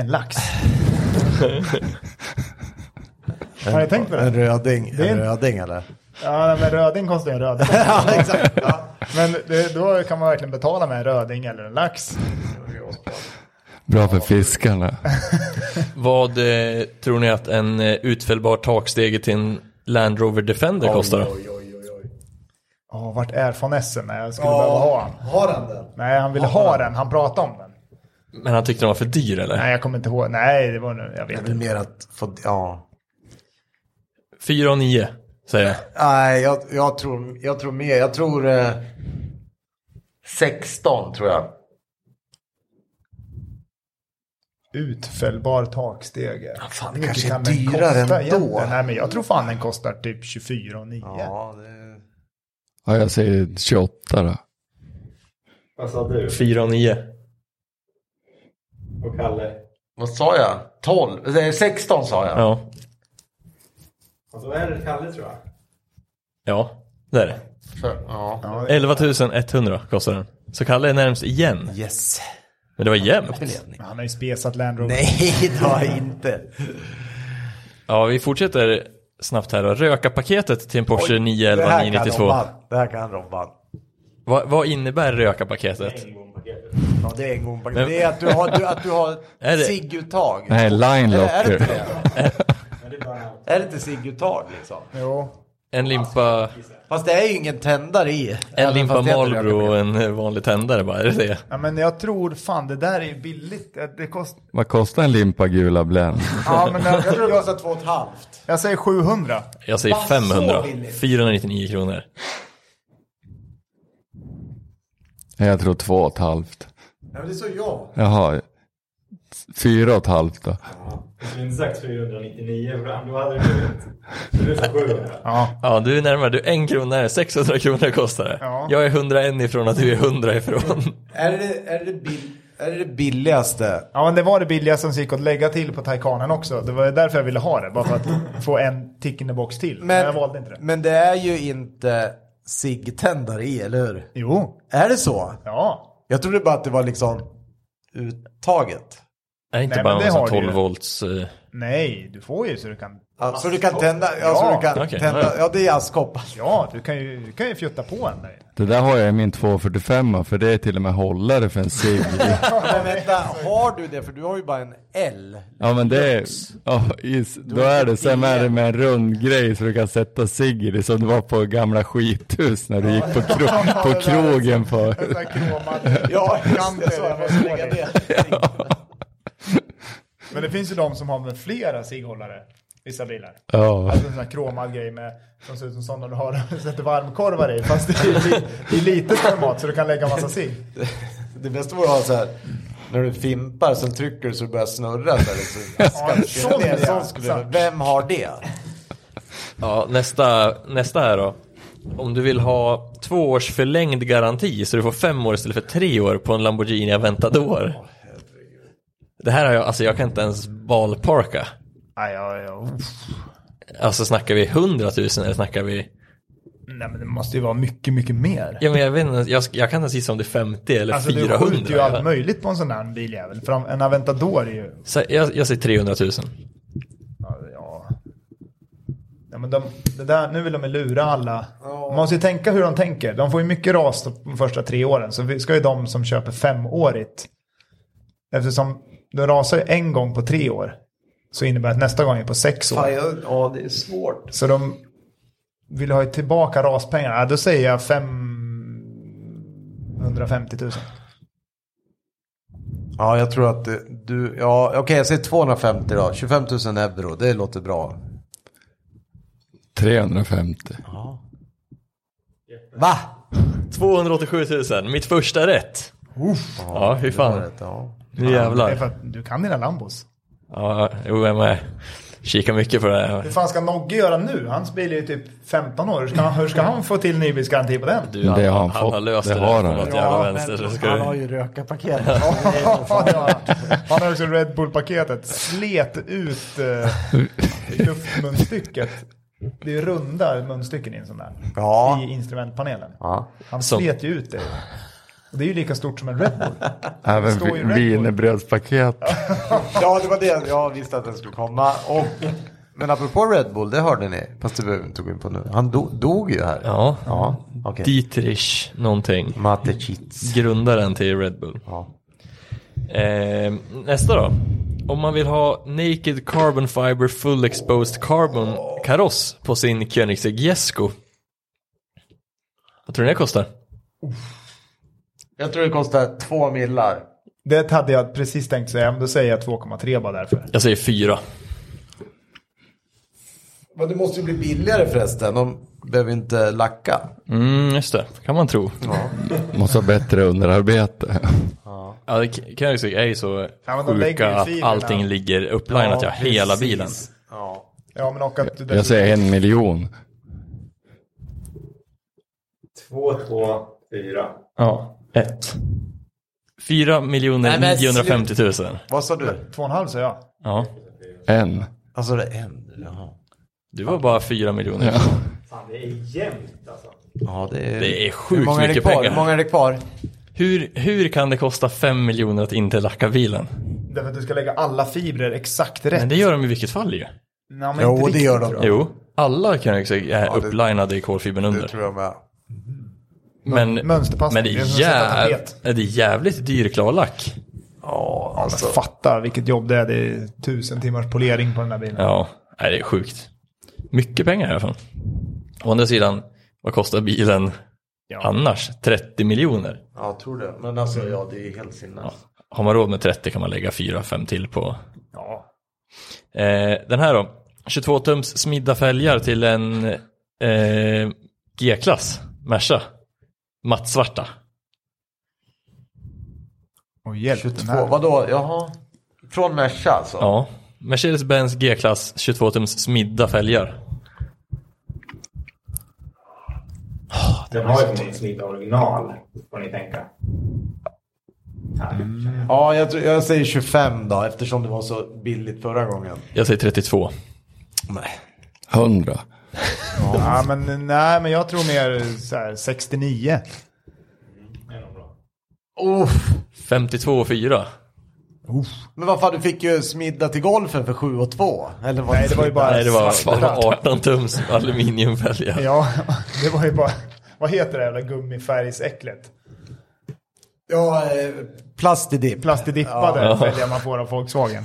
Speaker 2: en lax. har ni tänkt på det?
Speaker 1: röding.
Speaker 2: Det är en-
Speaker 1: röding
Speaker 2: [laughs]
Speaker 1: eller?
Speaker 2: Ja, men röding kostar ju en röding.
Speaker 1: ja, exakt. Ja.
Speaker 2: Men det, då kan man verkligen betala med en röding eller en lax.
Speaker 4: Bra för fiskarna.
Speaker 3: Vad eh, tror ni att en eh, utfällbar takstege till en Land Rover Defender kostar? då?
Speaker 2: Åh, vart är von Essen? Nej, jag skulle behöva ha han.
Speaker 1: Har han den?
Speaker 2: Nej, han ville ha den. Han pratade om den.
Speaker 3: Men han tyckte den var för dyr eller?
Speaker 2: Nej, jag kommer inte ihåg. Nej, det var nu. Jag
Speaker 1: Det
Speaker 2: vet
Speaker 1: är väl
Speaker 2: inte.
Speaker 1: mer att få... Ja.
Speaker 3: 4 och 9 säger jag.
Speaker 1: Nej, jag, jag, tror, jag tror mer. Jag tror... Eh, 16 tror jag.
Speaker 2: Utfällbar takstege.
Speaker 1: fan,
Speaker 2: Hur
Speaker 1: det kanske
Speaker 2: mycket
Speaker 1: är
Speaker 2: kan den
Speaker 1: dyrare
Speaker 2: kosta
Speaker 1: ändå.
Speaker 2: egentligen? Nej, men jag tror fan den kostar typ 24 och 9.
Speaker 1: Ja, det...
Speaker 4: Ja, jag säger 28 då.
Speaker 5: Vad sa du?
Speaker 3: 4 och 9.
Speaker 5: Och Kalle?
Speaker 1: Vad sa jag? 12? Eh, 16 sa jag.
Speaker 3: Ja.
Speaker 5: Och då är det Kalle tror jag.
Speaker 3: Ja, det är det.
Speaker 1: För, ja.
Speaker 2: Ja,
Speaker 3: 11 100 kostar den. Så Kalle är närmst igen.
Speaker 1: Yes. [laughs]
Speaker 3: Men det var jämnt.
Speaker 1: Ledning.
Speaker 2: men han har ju spesat Land Rover.
Speaker 1: Nej, det har jag inte.
Speaker 3: Ja, vi fortsätter snabbt här då. Röka-paketet till en Porsche
Speaker 1: Det
Speaker 3: 911
Speaker 1: här kan
Speaker 3: 992.
Speaker 1: Robban. Det här kan Robban.
Speaker 3: Vad, vad innebär röka-paketet?
Speaker 5: Engblom-paketet.
Speaker 1: Ja, det är en gång. Det är att du har, du, att du har
Speaker 3: [laughs] Är det-
Speaker 1: cigguttag.
Speaker 4: Nej, line
Speaker 1: Eller är det inte
Speaker 4: locker.
Speaker 1: det?
Speaker 3: [laughs]
Speaker 5: Men det är bara...
Speaker 1: Är det inte cigguttag liksom?
Speaker 2: Jo.
Speaker 3: En limpa,
Speaker 1: Fast det är ju ingen tändare i.
Speaker 3: en
Speaker 1: Även
Speaker 3: limpa
Speaker 1: fast det heter
Speaker 3: Marlboro och
Speaker 1: rökpaket.
Speaker 3: en eh, vanlig tändare bara, är det det?
Speaker 2: Ja, men jag tror fan det där är ju billigt. Det
Speaker 1: [laughs]
Speaker 2: kost...
Speaker 4: Vad kostar en limpa gula Blend?
Speaker 2: ja, men jag,
Speaker 1: Jag tror [laughs]
Speaker 2: jag,
Speaker 1: det
Speaker 2: jag,
Speaker 1: kostar två och ett halvt.
Speaker 2: jag säger 700.
Speaker 3: Jag säger
Speaker 1: Vad, så
Speaker 3: 500.
Speaker 1: billigt?
Speaker 3: 499 kronor.
Speaker 4: Nej, Jag tror två och ett halvt.
Speaker 1: Ja, men det sa jag.
Speaker 4: Jaha. Fyra och ett halvt då.
Speaker 5: Jag skulle inte sagt 499 för då hade det blivit... Så du sa 700.
Speaker 2: Ja.
Speaker 3: Ja, du är närmare. Du är en krona här. 600 kronor kostar det.
Speaker 2: Ja.
Speaker 3: Jag är 101 ifrån att du är 100 ifrån.
Speaker 1: Är det är det, bill, är det, det billigaste?
Speaker 2: ja, men det var det billigaste som gick att lägga till på Taycanen också. Det var ju därför jag ville ha det. Bara för att få en tick in the box till. Men, jag valde inte det.
Speaker 1: men det är ju inte ciggtändare i, eller hur?
Speaker 2: Jo.
Speaker 1: Är det så?
Speaker 2: Ja.
Speaker 1: Jag trodde bara att det var liksom uttaget.
Speaker 3: Är inte
Speaker 2: Nej,
Speaker 3: bara
Speaker 2: men
Speaker 3: någon
Speaker 2: det
Speaker 3: sån
Speaker 2: har du
Speaker 3: 12
Speaker 2: ju.
Speaker 3: volts... eh,
Speaker 2: Nej, du får ju så du kan
Speaker 1: Ja, så du kan tända, ja, så
Speaker 2: Ja.
Speaker 1: du kan
Speaker 3: Okej, ja,
Speaker 1: tända,
Speaker 3: ja.
Speaker 1: ja det är [laughs] askkoppar.
Speaker 2: Ja, du kan ju, du kan ju fjutta på en där inne.
Speaker 4: Det där har jag i min 245 för det är till och med hållare för en cigg.
Speaker 1: Men vänta, har du det? För du har ju bara en L.
Speaker 4: Ja men det är, ja, is, då är det, sen är det med en rund grej så du kan sätta cigg i det som det var på gamla skithus när du gick på, kro, på krogen
Speaker 2: En
Speaker 4: för.
Speaker 2: sån här [laughs] kromad
Speaker 1: Ja, just
Speaker 2: kanter.
Speaker 1: [laughs] det. Så jag måste lägga [laughs] det.
Speaker 2: Men det finns ju de som har med flera cigghållare. Vissa bilar.
Speaker 4: Ja.
Speaker 2: Alltså en sån här kromad grej med, som ser ut som sådana du har, [laughs] sätter varmkorvar i. Fast i, i, i litet format så du kan lägga massa cigg.
Speaker 1: Det bästa vore att ha så här, när du fimpar, sen trycker du så det börjar snurra. Så här, liksom.
Speaker 2: Ja, en sån,
Speaker 1: Det är en
Speaker 2: ja.
Speaker 1: sån skulle jag- Vem har det?
Speaker 3: Ja, nästa, nästa här då. Om du vill ha två års förlängd garanti så du får fem år istället för tre år på en Lamborghini Aventador. Det här har jag, alltså jag kan inte ens ballparka.
Speaker 2: Nej, ja, ja.
Speaker 3: Alltså snackar vi 100 000 eller snackar vi...
Speaker 2: Nej, men det måste ju vara mycket, mycket mer.
Speaker 3: Ja men jag vet inte, jag, jag kan inte gissa om det är 50 eller
Speaker 2: Alltså du
Speaker 3: 400.
Speaker 2: skjuter ju
Speaker 3: jag,
Speaker 2: allt
Speaker 3: vet.
Speaker 2: möjligt på en sån här biljävel. För en Aventador är ju...
Speaker 3: Så jag, jag säger 300 000.
Speaker 2: Ja, ja. Ja, men de, det där, nu vill de ju lura alla. Man måste ju tänka hur de tänker. De får ju mycket ras de första tre åren. Så vi ska ju de som köper femårigt. Eftersom de rasar ju en gång på tre år. Så innebär det att nästa gång är på sex år.
Speaker 1: Ja, det är svårt.
Speaker 2: Så de vill ha tillbaka raspengarna. Ja, då säger jag 550 000.
Speaker 1: Ja, jag tror att eh, du, ja okej jag säger 250 då. 25 000 euro, det låter bra.
Speaker 4: 350.
Speaker 1: Va?
Speaker 3: 287 000, mitt första rätt.
Speaker 2: Uff.
Speaker 3: Ja, hur
Speaker 1: Det var
Speaker 3: fan.
Speaker 1: rätt, Ja.
Speaker 3: Nu
Speaker 2: Det är
Speaker 3: jävlar.
Speaker 2: för att du kan dina Lambos.
Speaker 3: Ja, jo jag med. Kika mycket på det här.
Speaker 2: Hur fan ska Nogge göra nu? Hans bil är ju typ 15 år. Hur ska han, hur ska han få till nybilsgaranti på den?
Speaker 3: Du,
Speaker 4: Det har
Speaker 3: han
Speaker 4: han
Speaker 3: har
Speaker 4: fått.
Speaker 3: löst det,
Speaker 4: Det har
Speaker 3: där
Speaker 4: han.
Speaker 3: på något jävla vänster. Så
Speaker 1: men
Speaker 3: ska
Speaker 1: han
Speaker 3: du...
Speaker 1: har ju rökarpaket.
Speaker 2: [laughs] Ja, han har också Red Bull-paketet. Slet ut eh, luftmunstycket. Det är ju runda munstycken i en sån där.
Speaker 1: Ja.
Speaker 2: I instrumentpanelen.
Speaker 1: Ja.
Speaker 2: Han
Speaker 3: Som-
Speaker 2: slet ju ut det. Och det är ju lika stort som en Red Bull.
Speaker 4: Även
Speaker 2: står ju Red Bull.
Speaker 4: wienerbrödspaket.
Speaker 1: ja, det var det jag visste att den skulle komma. Och, men apropå Red Bull, det hörde ni. Fast det behöver vi inte gå in på nu. Han do, dog ju här.
Speaker 3: Ja.
Speaker 1: Ja, okej.
Speaker 3: Dietrich någonting.
Speaker 1: Matechitz.
Speaker 3: Grundaren till Red Bull.
Speaker 1: Ja.
Speaker 3: Eh, nästa då. Om man vill ha Naked Carbon Fiber Full Exposed Carbon kaross på sin Koenigsegg Jesko. Vad tror ni det kostar?
Speaker 1: Jag tror det kostar två millar.
Speaker 2: Det hade jag precis tänkt säga, men då säger jag 2,3 bara därför.
Speaker 3: Jag säger fyra.
Speaker 1: Men det måste ju bli billigare förresten. De behöver ju inte lacka.
Speaker 3: Mm, just det. Kan man tro.
Speaker 4: Måste ha bättre underarbete.
Speaker 3: Ja, det- Koenigsegg är ju så
Speaker 2: Ja, men de lägger ju
Speaker 3: sjuka att
Speaker 2: filerna.
Speaker 3: allting ligger upplinat, ja, hela bilen.
Speaker 1: Ja.
Speaker 2: Ja, men och att
Speaker 4: Jag säger en miljon.
Speaker 5: 2, 2, 4.
Speaker 3: Ja, ett. Fyra miljoner
Speaker 1: Nej, men
Speaker 3: 950 tusen.
Speaker 1: Vad sa du?
Speaker 2: Två och en halv säger jag.
Speaker 3: Ja,
Speaker 4: En.
Speaker 1: Alltså det är en. Jaha.
Speaker 3: du var bara fyra miljoner.
Speaker 4: Ja.
Speaker 5: Fan, det är jämnt alltså.
Speaker 1: Ja, det är,
Speaker 3: Det är sjukt
Speaker 1: Hur många är det
Speaker 3: mycket
Speaker 1: kvar?
Speaker 3: pengar.
Speaker 1: Hur många är det kvar?
Speaker 3: Hur, hur kan det kosta fem miljoner att inte lacka bilen?
Speaker 2: Därför att du ska lägga alla fibrer exakt rätt.
Speaker 3: Men det gör de i vilket fall ju.
Speaker 2: Nej, men
Speaker 1: Jo,
Speaker 2: inte
Speaker 1: det
Speaker 2: riktigt,
Speaker 1: gör de.
Speaker 2: tror jag.
Speaker 3: Jo, alla Koenigsegg är
Speaker 1: det-
Speaker 3: upplinade i kolfibern
Speaker 1: Det
Speaker 3: under.
Speaker 1: tror jag med.
Speaker 3: Men,
Speaker 2: Mönsterpassning,
Speaker 3: men det
Speaker 2: det är
Speaker 3: är,
Speaker 2: som att sätta
Speaker 3: jäv...
Speaker 2: tapet.
Speaker 3: det är jävligt dyr klarlack.
Speaker 1: Ja,
Speaker 2: Alltså,
Speaker 1: alltså.
Speaker 2: fatta vilket jobb det är. Det är tusen timmars polering på den här bilen.
Speaker 3: Ja, nej, det är sjukt. Mycket pengar i alla fall. Å andra sidan, vad kostar bilen annars? 30 miljoner.
Speaker 1: Ja, jag tror det. Men alltså, ja, det är helt sinnes.
Speaker 3: Har man råd med 30 kan man lägga 4-5 till på
Speaker 2: Ja.
Speaker 3: Eh, den här då. 22 tums smidda fälgar till en eh, G-klass Merca. Mattsvarta.
Speaker 2: Och hjälp, den
Speaker 1: 22,
Speaker 2: här.
Speaker 1: vadå? Jaha. Från Merca alltså?
Speaker 3: Ja. Mercedes-Benz G-klass 22 tums smidda fälgar.
Speaker 5: Den har ju förmodligen smitt original, får ni tänka.
Speaker 1: Ja, jag, tror- jag säger 25 då eftersom det var så billigt förra gången.
Speaker 3: Jag säger 32.
Speaker 1: Nej.
Speaker 4: Hundra.
Speaker 2: Ja, men, nej, men jag tror mer så här, 69.
Speaker 5: Det är nog bra.
Speaker 1: Uff.
Speaker 3: 52 och 4.
Speaker 1: Men vad fan, du fick ju smidda till golfen för 7 och 2. Eller vad
Speaker 2: Nej, det var ju bara-
Speaker 3: Nej, det var,
Speaker 2: Svarta.
Speaker 3: det var 18 tums aluminiumfälgar.
Speaker 2: Ja, [laughs] det var ju bara... Vad heter det jävla gummifärgsäcklet?
Speaker 1: Ja, eh, plastidipp.
Speaker 2: Plastidippade
Speaker 3: Ja.
Speaker 2: fälgar man får av Volkswagen.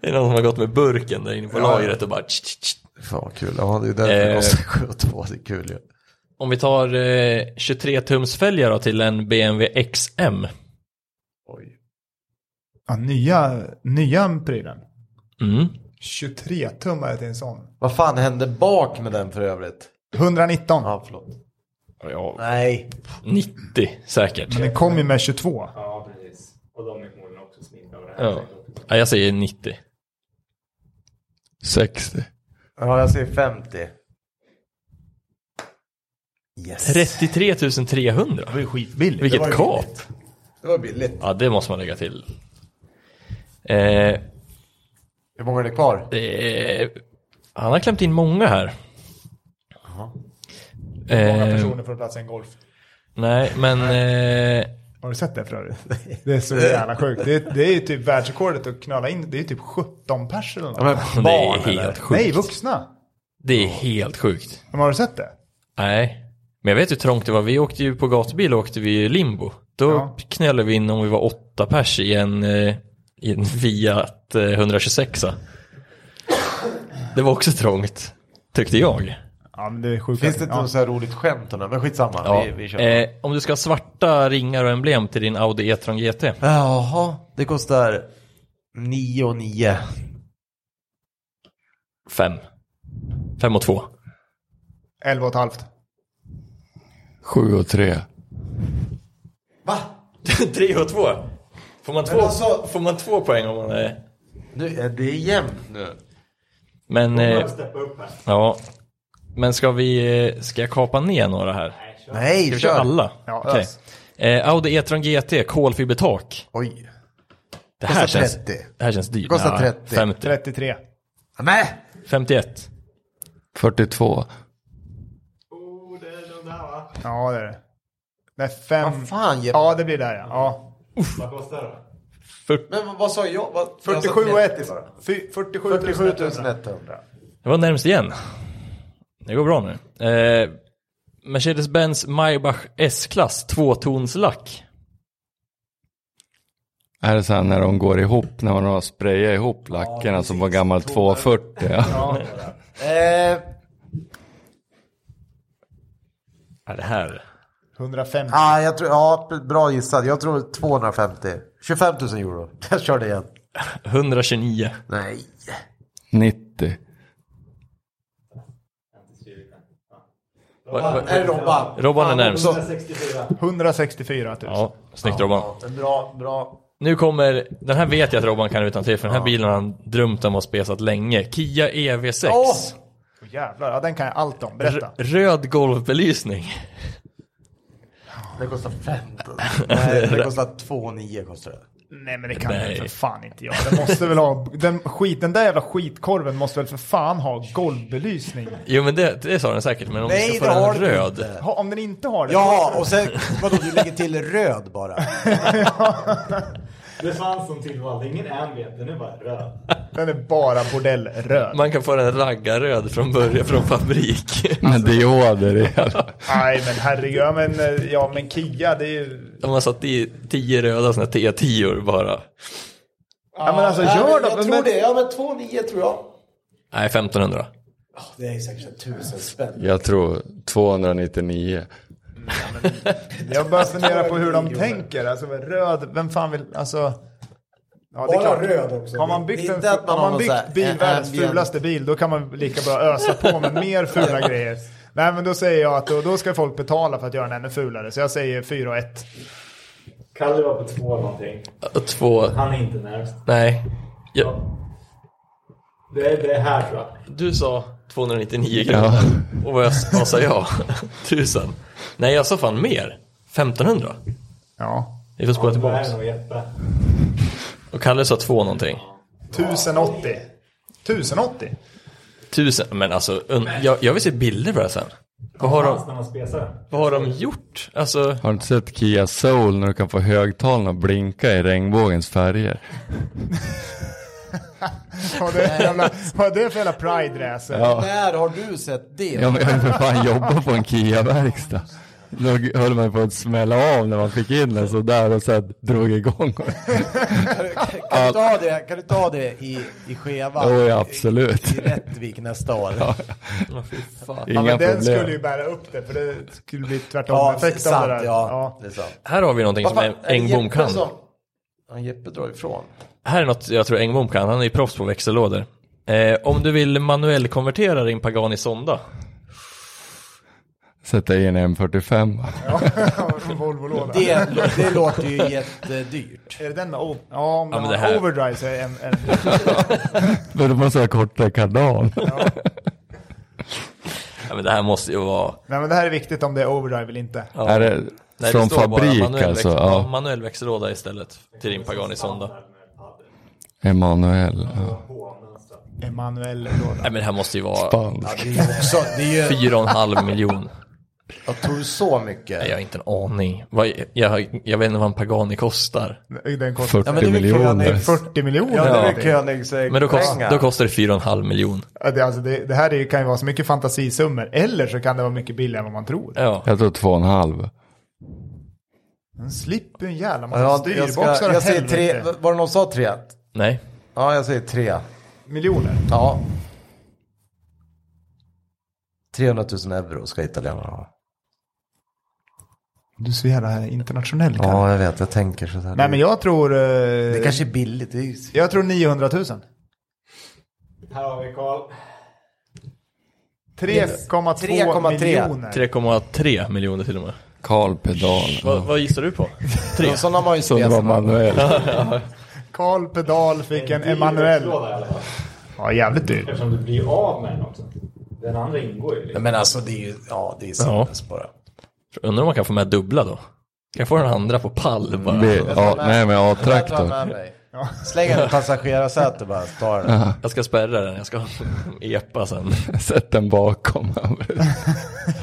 Speaker 3: Det är någon som har gått med burken där inne på lagret och bara... Tsch, tsch, tsch.
Speaker 1: Fan vad kul. Ja, det är därför det
Speaker 3: Eh.
Speaker 1: kostar 7 och 2. Det är kul ju.
Speaker 3: Om vi tar eh, 23-tumsfälgar då till en BMW XM.
Speaker 2: Ja, nya, nya prylen.
Speaker 3: Mm.
Speaker 2: 23 tummare till en sån.
Speaker 1: Vad fan hände bak med den för övrigt?
Speaker 2: 119.
Speaker 1: Ja, förlåt.
Speaker 3: Ja,
Speaker 1: Nej.
Speaker 3: 90 säkert.
Speaker 2: Men den kom ju med 22.
Speaker 5: Ja, precis. Och de är förmodligen också snidda av det här.
Speaker 3: Ja. ja, jag säger 90.
Speaker 4: 60.
Speaker 1: Ja, jag säger 50. Yes.
Speaker 3: 33 300.
Speaker 2: Det var ju skitbilligt.
Speaker 3: Vilket
Speaker 1: var ju
Speaker 3: kap.
Speaker 1: billigt. Det var billigt.
Speaker 3: Ja, det måste man lägga till. Eh,
Speaker 1: Hur många är det kvar?
Speaker 3: det är... Han har klämt in många här.
Speaker 2: Många
Speaker 3: Eh,
Speaker 2: personer får plats i en Golf.
Speaker 3: nej, men... Eh,
Speaker 2: Har du sett det för övrigt? Det är så jävla sjukt. Det, är- det är ju typ världsrekordet att knöla in. Det är ju typ 17 pers eller något.
Speaker 3: det är helt
Speaker 2: Nej,
Speaker 3: sjukt.
Speaker 2: vuxna.
Speaker 3: Det är helt sjukt.
Speaker 2: Men har du sett det?
Speaker 3: Nej, men jag vet hur trångt det var. Vi åkte ju på gatubil och åkte vi limbo. Då
Speaker 2: Ja.
Speaker 3: knölade vi in om vi var åtta pers i en, eh, i en Fiat eh, 126. Det var också trångt, tyckte jag.
Speaker 2: Ja, men det är sjukt.
Speaker 1: Finns det inte
Speaker 2: ja.
Speaker 1: något så här roligt skämt om det? Men skitsamma.
Speaker 3: Ja.
Speaker 1: Vi, vi kör.
Speaker 3: eh, om du ska ha svarta ringar och emblem till din Audi E-tron GT.
Speaker 1: Jaha, det kostar 9 och 9.
Speaker 3: Fem. Fem och två.
Speaker 2: 11 och ett halvt.
Speaker 4: 7 och 3.
Speaker 1: Va?
Speaker 3: [laughs] Tre och två. Får man två,
Speaker 1: alltså-
Speaker 3: får man två poäng om man är...
Speaker 1: Nu, är det är jämnt nu.
Speaker 3: Men, eh,
Speaker 5: Jag steppa upp här.
Speaker 3: ja. Men ska vi, eh, ska jag kapa ner några här?
Speaker 5: Nej, kör.
Speaker 1: Nej,
Speaker 3: Ska vi köra
Speaker 1: kör.
Speaker 3: alla?
Speaker 2: Ja,
Speaker 3: Okej.
Speaker 2: ös.
Speaker 3: Eh, Audi E-tron GT, kolfibertak.
Speaker 1: Oj.
Speaker 3: Det
Speaker 1: Kostar
Speaker 3: här, känns,
Speaker 1: 30.
Speaker 3: det här känns dyrt.
Speaker 1: Kostar
Speaker 3: Nja,
Speaker 1: 30.
Speaker 3: 50.
Speaker 2: 33.
Speaker 1: Nej!
Speaker 3: 51.
Speaker 4: 42.
Speaker 5: Oh, det är de där va?
Speaker 2: Ja, det är det. Nej, fem.
Speaker 1: Vad fan, Jeppe?
Speaker 2: Ja, det blir där ja. ja.
Speaker 5: Vad kostar det?
Speaker 3: 40.
Speaker 1: Men vad sa jag? Vad,
Speaker 2: 47 och
Speaker 1: jag sa
Speaker 2: 1. 47
Speaker 1: 47
Speaker 2: 100.
Speaker 1: 100.
Speaker 3: Det var närmst igen. Det går bra nu. Eh, Mercedes-Benz Maybach S-klass, tvåtonslack.
Speaker 4: Är det så här när de går ihop, när man har sprayat ihop lackerna som var gammal 240? [laughs] Ja.
Speaker 1: Eh,
Speaker 3: Ja, det här.
Speaker 2: 150.
Speaker 1: ah, jag tror, ja, bra gissat. Jag tror 250. 25 000 euro. [laughs] Jag kör det igen.
Speaker 3: 129.
Speaker 1: Nej.
Speaker 4: 90.
Speaker 3: Va- va-
Speaker 1: Är det Robban?
Speaker 3: Robban är närmst.
Speaker 5: 164.
Speaker 2: 164 000.
Speaker 3: Ja, snyggt Robban.
Speaker 1: Bra, bra.
Speaker 3: Nu kommer, den här vet jag att Robban kan utan till för den här bilen har han drömt om och spesat länge. Kia E EV6.
Speaker 1: Åh!
Speaker 2: Åh, jävlar, ja, den kan jag allt om. Berätta.
Speaker 3: R- röd golvbelysning.
Speaker 1: Det kostar
Speaker 3: [laughs]
Speaker 1: 15. Nej, det kostar 2 9 kostar det.
Speaker 2: Nej men det kan
Speaker 3: Nej.
Speaker 2: väl för fan inte jag. Den måste väl ha, den, skit, den där jävla skitkorven måste väl för fan ha golvbelysning.
Speaker 3: Jo men det, det sa den säkert, men om
Speaker 1: Nej,
Speaker 3: du
Speaker 1: det
Speaker 3: ska få
Speaker 1: har
Speaker 3: den
Speaker 1: du
Speaker 3: röd.
Speaker 1: inte.
Speaker 2: Ha, om den inte har det.
Speaker 1: Ja, och sen vadå, du lägger till röd
Speaker 3: [laughs]
Speaker 1: bara.
Speaker 5: Det fanns som tillval. Det är ingen ambient, den är bara röd.
Speaker 2: Den är bara bordellröd.
Speaker 3: Man kan få den raggarröd från början, från fabrik.
Speaker 4: Med dioder i hela.
Speaker 2: Nej men herregud, ja men, eh, ja, men Kia det är ju...
Speaker 3: De har satt i tio röda sådana t 10 bara.
Speaker 2: Ja, men alltså gör då. Men, men,
Speaker 1: Ja, men 2 9 tror jag.
Speaker 3: Nej, 1500.
Speaker 1: Det är säkert tusen spänn.
Speaker 4: Jag tror 299.
Speaker 2: jag börjar fundera på [laughs] hur de tänker. Alltså röd, vem fan vill, alltså. Ja, det är
Speaker 1: Bara
Speaker 2: klart.
Speaker 1: röd också.
Speaker 2: Har man byggt,
Speaker 1: Inte
Speaker 2: en,
Speaker 1: att man
Speaker 2: har
Speaker 1: har
Speaker 2: man
Speaker 1: någon så här,
Speaker 2: byggt bilvärldens
Speaker 1: ambient-
Speaker 2: fulaste bil då kan man lika bra ösa på med
Speaker 1: [laughs]
Speaker 2: mer fula grejer. Nej men då säger jag att då, då ska folk betala för att göra den ännu fulare. Så jag säger 4 och 1.
Speaker 5: Kalle var på två någonting.
Speaker 3: Och Två...
Speaker 5: Han är inte närmst.
Speaker 3: Nej. Jag,
Speaker 5: Det är det är här tror jag.
Speaker 3: du sa 299 kronor. Och vad, jag, vad sa jag? [laughs] 1000. Nej, jag sa fan mer. 1500.
Speaker 2: Ja.
Speaker 3: Vi får spola
Speaker 5: Det här
Speaker 3: tillbaka.
Speaker 5: är nog Jeppe.
Speaker 3: Och Kalle sa två någonting.
Speaker 2: 1080. 1080?
Speaker 3: 1000. Men alltså, un, jag, jag vill se bilder på det här sen. Vad har de-
Speaker 5: fanns när man spesade den.
Speaker 3: Vad har de gjort? Alltså,
Speaker 4: Har du inte sett Kia Soul när du kan få högtalarna att blinka i regnbågens färger?
Speaker 2: Vad är det för jävla, vad är det för jävla pride-racer?
Speaker 4: Ja,
Speaker 1: När har du sett det?
Speaker 4: ja men jag har ju för fan jobbat på en Kia-verkstad. Då höll man på att smälla av när man fick in den sådär och sen drog igång.
Speaker 1: Kan, du ta det, kan du ta det i, i skeva?
Speaker 4: Jo, ja, absolut.
Speaker 1: I, I Rättvik nästa år.
Speaker 3: vad fy fan.
Speaker 4: Inga
Speaker 2: Ja, men den
Speaker 4: problem.
Speaker 2: skulle ju bära upp det, för det skulle bli tvärtom
Speaker 1: Ja,
Speaker 2: effekt av
Speaker 1: sant,
Speaker 2: det där.
Speaker 1: ja.
Speaker 2: Ja.
Speaker 1: Det är sant.
Speaker 3: Här har vi någonting som
Speaker 1: Vad fan, är det
Speaker 3: Engbom
Speaker 1: Jeppe
Speaker 3: kan.
Speaker 1: som- Ja, Jeppe drar ifrån.
Speaker 3: Här är något jag tror Engbom kan, han är ju proffs på växellådor. Eh, om du vill manuell konvertera din Pagani Sonda.
Speaker 4: Sätta in en 45
Speaker 2: Från Volvo-lådan.
Speaker 1: Det, det låter ju jättedyrt.
Speaker 2: Är det den med o- ja, men
Speaker 3: men det här-
Speaker 2: overdrive så är en, en
Speaker 4: Men då måste jag ha kortare kanal.
Speaker 3: Ja, men det här måste ju vara...
Speaker 2: Nej men det här är viktigt om det är overdrive eller inte.
Speaker 3: Ja.
Speaker 4: Är det
Speaker 3: Nej,
Speaker 4: från
Speaker 3: står bara liksom.
Speaker 4: fabrik
Speaker 3: manuell
Speaker 4: alltså?
Speaker 3: växel- ja,
Speaker 4: Ja.
Speaker 3: manuell växellåda istället till din Pagani Sonda.
Speaker 4: Emanuel. Ja.
Speaker 2: Emanuel låda.
Speaker 3: Nej men det här måste ju vara
Speaker 4: Fan.
Speaker 1: Det är ju också, det är ju,
Speaker 3: 4,5 miljon.
Speaker 1: jag tror så
Speaker 3: Nej,
Speaker 1: mycket.
Speaker 3: jag har inte en aning. Vad, jag, jag vet inte vad en Pagani kostar.
Speaker 2: Den kostar
Speaker 4: 40
Speaker 1: Ja, men det är väl
Speaker 4: miljoner.
Speaker 1: Koenigs.
Speaker 2: 40 miljoner.
Speaker 1: Ja, det är väl
Speaker 2: någonting.
Speaker 1: Königs eh,
Speaker 3: Men då, kost,
Speaker 1: pengar.
Speaker 3: då kostar det 4,5 miljon.
Speaker 2: Ja, det, alltså det, det här är, ju- kan ju vara så mycket fantasisummor. Eller så kan det vara mycket billigare än vad man tror.
Speaker 3: Ja.
Speaker 4: Jag tror två och en halv.
Speaker 2: Den slipper ju en jävla massa
Speaker 1: Ja, jag, ska,
Speaker 2: styrboxar och
Speaker 1: jag säger tre,
Speaker 2: helvete.
Speaker 1: var det någon som sa tre?
Speaker 3: Nej.
Speaker 1: Ja, jag säger tre.
Speaker 2: Miljoner.
Speaker 1: Ja. 300 000 euro ska italienarna ha.
Speaker 2: Du är så jävla internationell Kalle.
Speaker 1: Ja, jag vet, jag tänker sådär.
Speaker 2: Nej men jag tror... eh,
Speaker 1: Det kanske är billigt. Det är ju...
Speaker 2: Jag tror 900 000.
Speaker 5: Här har vi Karl.
Speaker 2: 3,2
Speaker 1: 3,3.
Speaker 2: miljoner.
Speaker 3: 3,3 miljoner till och med.
Speaker 4: Karl Pedal.
Speaker 3: Vad, vad gissar du
Speaker 4: [laughs]
Speaker 3: på? Tre?
Speaker 1: Ja, Sådana har man ju
Speaker 4: Så det
Speaker 1: spesat.
Speaker 4: var manuell.
Speaker 2: Karl Pedal fick en
Speaker 5: dyr
Speaker 2: Emanuel.
Speaker 5: växellåda i alla fall.
Speaker 2: Ja jävligt dyr.
Speaker 5: Eftersom du blir av med den också. Den andra ingår ju. Liksom.
Speaker 1: Men alltså det är ju, ja det är sinnes bara.
Speaker 3: Undrar om man kan få med dubbla då? Kan jag få den andra på pall bara?
Speaker 4: B- A, nej men
Speaker 1: Jag tar
Speaker 4: A-traktor.
Speaker 1: med mig. Släng den i passagerarsätet bara, ta den.
Speaker 3: Jag ska spärra den, jag ska [laughs] ha en epa sen.
Speaker 4: Sätt
Speaker 3: [laughs]
Speaker 4: den bakom.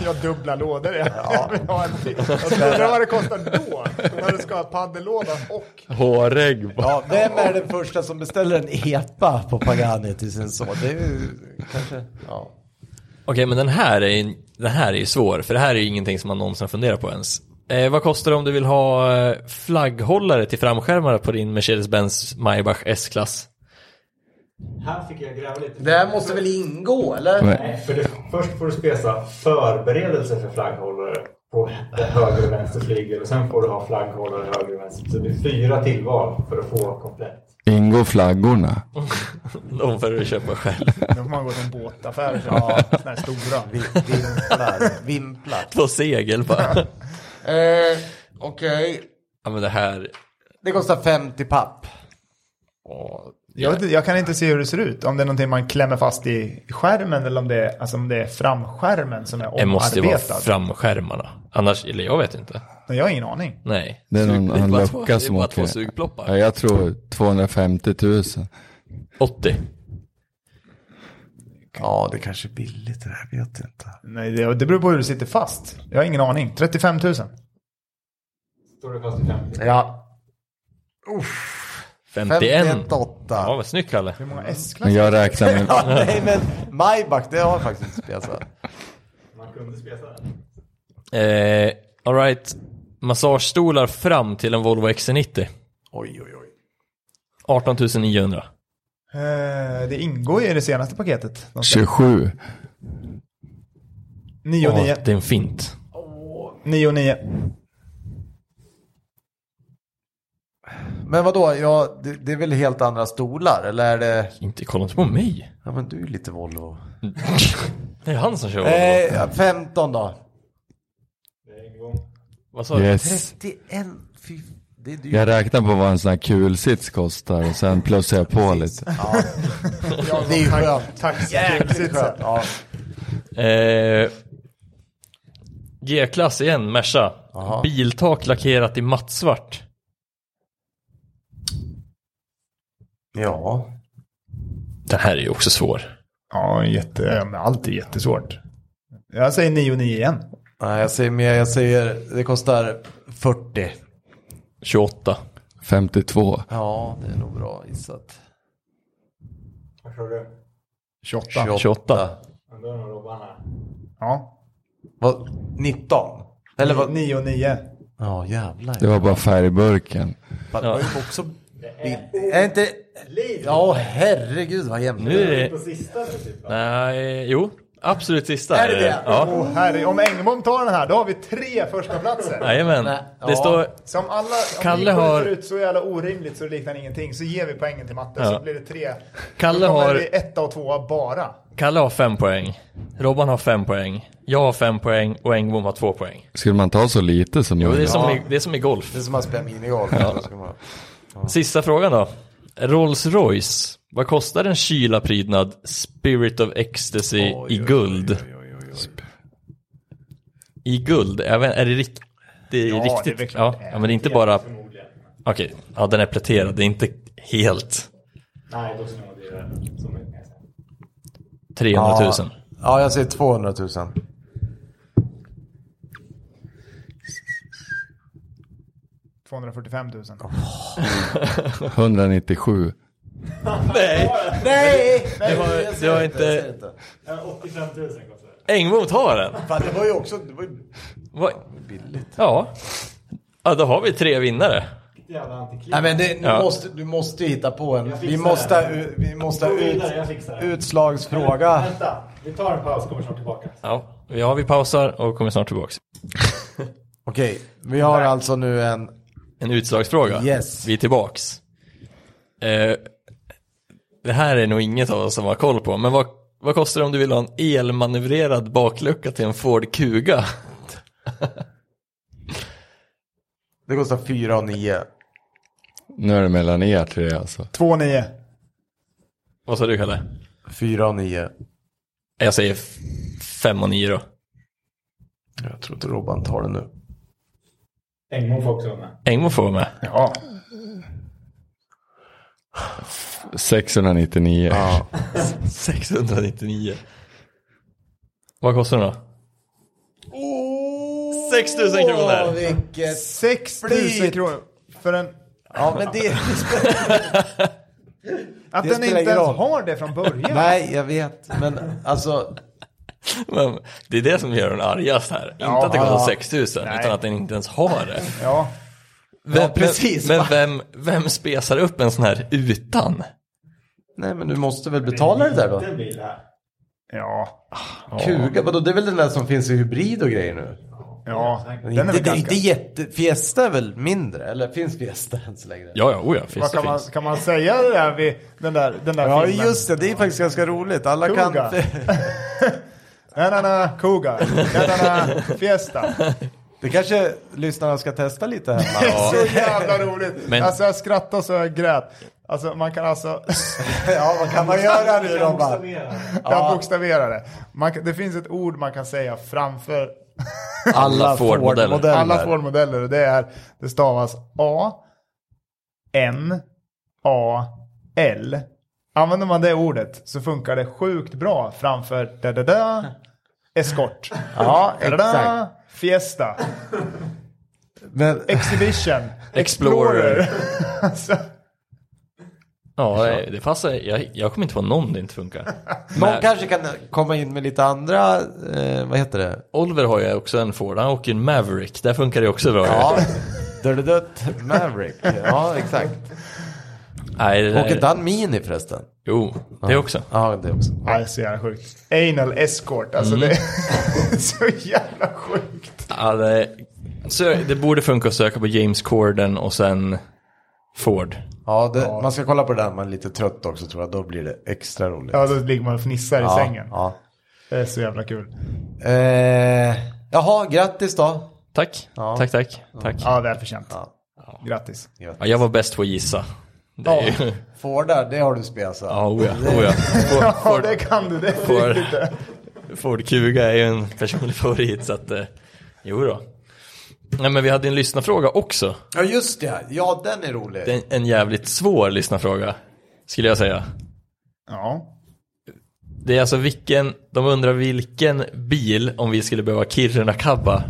Speaker 2: Jag dubbla lådor. Jag, [laughs] jag vill ha en till. Jag undrar vad det kostar då. När du ska ha paddellåda och...
Speaker 4: Hårregg. bara.
Speaker 1: Ja, vem är den första som beställer en EPA på Pagani till sin son? Det är ju kanske, ja.
Speaker 3: Okej, men den här, är, den här är ju svår, för det här är ju ingenting som man någonsin funderar på ens. Eh, vad kostar det om du vill ha eh, flagghållare till framskärmar på din Mercedes-Benz Maybach S-klass? [laughs]
Speaker 5: Här fick jag gräva lite.
Speaker 1: Det här måste väl ingå eller?
Speaker 4: Men-
Speaker 5: Nej, för det, först får du spesa förberedelser för flagghållare på höger och vänster flygel och sen får du ha flagghållare höger och vänster. Så det blir fyra tillval för att få komplett.
Speaker 4: Ingår flaggorna?
Speaker 3: De får du köpa själv. [laughs]
Speaker 2: Då får man gå till en båtaffär. Ja, såna här stora.
Speaker 1: Vi- Vimplar, vimplar.
Speaker 3: Två
Speaker 2: [laughs]
Speaker 3: segel bara.
Speaker 1: Eh, Okej.
Speaker 3: ja, men det här...
Speaker 1: Det kostar 50 papp.
Speaker 2: Jag, vet, inte- jag kan inte se hur det ser ut. Om det är någonting man klämmer fast i skärmen eller om det är, alltså om det är framskärmen som är
Speaker 3: Det måste ju vara
Speaker 2: omarbetad.
Speaker 3: framskärmarna. Annars, eller jag vet inte.
Speaker 2: Nej, jag har ingen aning.
Speaker 3: Nej.
Speaker 4: Det är någon-
Speaker 3: Sug- det är
Speaker 4: en
Speaker 3: bara två-
Speaker 4: lucka som
Speaker 3: Det är bara
Speaker 4: åker.
Speaker 3: två sugploppar.
Speaker 4: Ja, jag tror 250 000.
Speaker 3: 80.
Speaker 1: Ja, det kanske är billigt det där, vet inte.
Speaker 2: Nej, det, det beror på hur du sitter fast. Jag har ingen aning. 35 000.
Speaker 5: Står det kostar 50.
Speaker 1: Ja,
Speaker 3: 51.
Speaker 1: 51
Speaker 3: Ja,
Speaker 1: 8.
Speaker 3: vad snyggt Kalle.
Speaker 2: Hur många S-klasser?
Speaker 4: Men jag räknar med...
Speaker 1: Ja, nej men Maybach, det har jag faktiskt inte spesat.
Speaker 5: Man kunde spesa den.
Speaker 3: Eh, Alright. Massagestolar fram till en Volvo XC90.
Speaker 1: Oj, oj, oj.
Speaker 3: 18 900.
Speaker 2: Eh, det ingår ju i det senaste paketet.
Speaker 4: 27.
Speaker 2: 9 och
Speaker 3: Ja,
Speaker 2: 9.
Speaker 3: det är en fint.
Speaker 2: 9 och 9.
Speaker 1: Men vadå, ja, det, det är väl helt andra stolar eller är det?
Speaker 3: Inte, kolla inte på mig.
Speaker 1: Ja men du är ju lite Volvo.
Speaker 3: Det är han som kör Volvo.
Speaker 1: Eh, ja, 15 då.
Speaker 5: Det är en gång.
Speaker 3: Vad sa du?
Speaker 4: Yes.
Speaker 1: 31, fy, det är dyrt.
Speaker 4: Jag räknar på vad en sån här kulsits kostar och sen plussar jag på lite.
Speaker 1: det är ju skönt.
Speaker 2: Tack.
Speaker 1: Jäkligt skönt. Ja.
Speaker 3: Eh, G-klass igen, Merca.
Speaker 1: Jaha.
Speaker 3: Biltak lackerat i mattsvart.
Speaker 1: ja.
Speaker 3: Det här är ju också svår.
Speaker 2: Ja, jätte, ja, men allt är jättesvårt. Jag säger 9 och 9 igen.
Speaker 1: Nej, jag säger mer. Jag säger det kostar 40.
Speaker 3: 28.
Speaker 4: 52.
Speaker 1: Ja, det är nog bra gissat.
Speaker 5: Vad tror du?
Speaker 2: 28.
Speaker 1: 28.
Speaker 3: 28.
Speaker 5: Undrar om Robban är...
Speaker 2: Ja.
Speaker 1: Vad? 19? Eller vad?
Speaker 2: 9 och 9.
Speaker 1: Ja, jävlar.
Speaker 4: Det var bara färgburken.
Speaker 1: Fan, det var ju också...
Speaker 5: är-
Speaker 1: Är inte...
Speaker 5: Liv!
Speaker 1: Ja, herregud vad jämnt.
Speaker 3: Nu är det...
Speaker 5: På sista nu typ. va?
Speaker 3: Nej, jo. Absolut sista.
Speaker 1: Är det det?
Speaker 3: Ja.
Speaker 2: Åh, herre, om Engblom tar den här, då har vi tre första platser.
Speaker 3: Jajamän.
Speaker 1: Nej,
Speaker 3: Det
Speaker 1: ja.
Speaker 3: står...
Speaker 2: Som alla, om
Speaker 3: Kalle
Speaker 2: vi
Speaker 3: har-
Speaker 2: har... ut så jävla orimligt så det liknar ingenting, så ger vi poängen till matte
Speaker 3: Ja.
Speaker 2: så blir det tre.
Speaker 3: Kalle
Speaker 2: Då kommer
Speaker 3: har-
Speaker 2: vi etta och tvåa bara.
Speaker 3: Kalle har fem poäng. Robban har fem poäng. Jag har fem poäng och Engbom har två poäng.
Speaker 4: Skulle man ta så lite som
Speaker 3: Jo, det, är
Speaker 4: möjligt?
Speaker 3: som i, det är som i golf.
Speaker 1: Det är som att spela minigolf. Ja.
Speaker 3: Sista frågan då. Rolls Royce. Vad kostar en kylarprydnad Spirit of Ecstasy i guld? I guld? Jag vet, är det rikt, det är
Speaker 2: det är
Speaker 3: riktigt?
Speaker 2: väl klart
Speaker 3: ja.
Speaker 2: det är.
Speaker 3: ja, men det är inte bara... Okej, ja den är pläterad. Det är inte helt
Speaker 5: Nej, då ska man dyrare. Så mycket kan jag säga.
Speaker 3: 300 000.
Speaker 1: Ja. ja, jag säger 200 000.
Speaker 2: Ja, 245 000.
Speaker 4: 197.
Speaker 3: Nej!
Speaker 1: Nej!
Speaker 3: Det var, det var inte...
Speaker 5: Eh, 85 000 kostar det.
Speaker 3: Engblom tar den!
Speaker 1: Fan, det var ju också... Det var ju...
Speaker 3: Vad? Ja. ja, då har vi tre vinnare.
Speaker 5: Vilket jävla antiklimax.
Speaker 1: Nej, men det, du,
Speaker 3: Ja.
Speaker 1: måste, du måste ju hitta på en.
Speaker 5: Jag fixar
Speaker 1: Vi måste,
Speaker 5: det.
Speaker 1: u- vi måste
Speaker 5: Jag går
Speaker 1: ut,
Speaker 5: vidare, jag fixar det.
Speaker 1: utslagsfråga.
Speaker 5: Vänta, vi tar en paus kommer snart tillbaka.
Speaker 3: Ja, ja vi pausar och kommer snart tillbaka.
Speaker 1: Okej, vi har alltså nu en...
Speaker 3: En utslagsfråga.
Speaker 1: Yes.
Speaker 3: Vi är tillbaks. Eh, det här är nog inget av oss som har koll på, men vad, vad kostar det om du vill ha en elmanövrerad baklucka till en Ford Kuga?
Speaker 1: Det kostar 4 och 9.
Speaker 4: Nu är det mellan er tre alltså.
Speaker 2: 2 och 9.
Speaker 3: [laughs] Vad sa du Kalle?
Speaker 1: 4 och 9.
Speaker 3: Jag säger f- fem och nio då.
Speaker 1: Jag tror inte Robban tar det nu.
Speaker 5: Engblom får också vara med.
Speaker 3: Engmo får vara med.
Speaker 2: Ja.
Speaker 4: 699.
Speaker 1: Ja.
Speaker 3: 699. Vad kostar den då? 6 000 kronor.
Speaker 1: Åh, vilket...
Speaker 2: 6 000
Speaker 1: Split.
Speaker 2: kronor för en...
Speaker 1: Ja, men det...
Speaker 2: Att
Speaker 1: Det
Speaker 2: den
Speaker 1: spelar
Speaker 2: inte
Speaker 1: ingen
Speaker 2: ens
Speaker 1: roll.
Speaker 2: har det från början.
Speaker 1: Nej, jag vet. Men alltså...
Speaker 3: Men det är det som gör den argast här. inte att det kostar 6 000, utan att den inte ens har det.
Speaker 2: Ja.
Speaker 3: Vem,
Speaker 1: precis,
Speaker 3: Men,
Speaker 1: va?
Speaker 3: men vem, vem spesar upp en sån här utan?
Speaker 1: Nej, men du måste väl betala det där då?
Speaker 5: Det blir det här.
Speaker 2: Ja.
Speaker 1: Kuga, vadå? Det är väl den där som finns i hybrid och grejer nu?
Speaker 2: Ja.
Speaker 1: Men
Speaker 2: Den är
Speaker 1: inte,
Speaker 2: väl
Speaker 1: det är inte
Speaker 2: ganska...
Speaker 1: jätte... Fiesta är väl mindre? Eller finns Fiesta än så länge?
Speaker 3: Ja, oh ja, oja,
Speaker 2: Vad
Speaker 3: finns det
Speaker 2: kan, man,
Speaker 3: finns.
Speaker 2: kan man säga det där vid den där, den där
Speaker 1: Ja,
Speaker 2: filmen?
Speaker 1: just det. Det är faktiskt ganska roligt. Alla
Speaker 2: Kuga.
Speaker 1: kan... [laughs]
Speaker 2: Na, na, na, Kuga. Na, na, na, fiesta.
Speaker 1: Det kanske lyssnarna ska testa lite hemma.
Speaker 2: Så jävla roligt.
Speaker 3: Men-
Speaker 2: Alltså jag skrattade så jag grät. Alltså man kan alltså,
Speaker 1: [laughs] ja, vad kan man göra nu
Speaker 5: Jag
Speaker 1: Robban?
Speaker 5: bokstaverar.
Speaker 2: jag bokstaverar det. Man, kan- det finns ett ord man kan säga framför
Speaker 3: Alla Ford-modeller.
Speaker 2: alla Ford-modeller och det är, det stavas A, N, A, L. Använder man det ordet så funkar det sjukt bra framför da da da, eskort.
Speaker 1: [laughs] Ja,
Speaker 2: Da, da, da, fiesta,
Speaker 1: [laughs] Men,
Speaker 2: exhibition,
Speaker 3: Explorer.
Speaker 2: alltså,
Speaker 3: [laughs] Ja, det, det passar. Jag, jag kommer inte på någon det inte funkar.
Speaker 1: någon kanske kan komma in med lite andra, eh, vad heter det?
Speaker 3: Oliver har ju också en Ford. Han åker ju en Maverick. Där funkar det också
Speaker 1: [laughs]
Speaker 3: bra.
Speaker 1: Ja, Dödödött Maverick. Ja, exakt.
Speaker 3: Nej, det där,
Speaker 1: Och ett Dan Mini förresten.
Speaker 3: Jo, det också.
Speaker 1: Ja, det också.
Speaker 2: nej, så jävla sjukt. Anal escort, alltså
Speaker 1: Mm.
Speaker 2: det är [laughs] så jävla sjukt.
Speaker 3: Ja, det, så det borde funka att söka på James Corden och sen Ford.
Speaker 1: Ja, det, man ska kolla på det där om man är lite trött också tror jag. Då blir det extra roligt.
Speaker 2: Ja, då ligger man och fnissar i
Speaker 1: Ja,
Speaker 2: sängen.
Speaker 1: Ja.
Speaker 2: Det är så jävla kul.
Speaker 1: Eh, jaha, grattis då.
Speaker 3: Tack,
Speaker 1: Ja.
Speaker 3: tack, tack. tack.
Speaker 2: Ja, välförtjänt.
Speaker 1: Ja.
Speaker 2: Grattis.
Speaker 3: Ja, jag var bäst på att gissa. Det är ju...
Speaker 1: Fordar, det har du spelat så.
Speaker 3: Ja, oja, oja. Ford,
Speaker 2: Ja,
Speaker 3: Ford,
Speaker 2: det kan du. Det är
Speaker 3: Får-
Speaker 2: riktigt det.
Speaker 3: Ford Kuga är ju en personlig favorit så att, eh, jo då. Nej men vi hade en lyssnarfråga också.
Speaker 1: Ja, just det. Ja, den är rolig.
Speaker 3: Det är En, en jävligt svår lyssnarfråga, skulle jag säga.
Speaker 2: Ja.
Speaker 3: Det är alltså vilken, de undrar vilken bil om vi skulle behöva Kiruna-cabba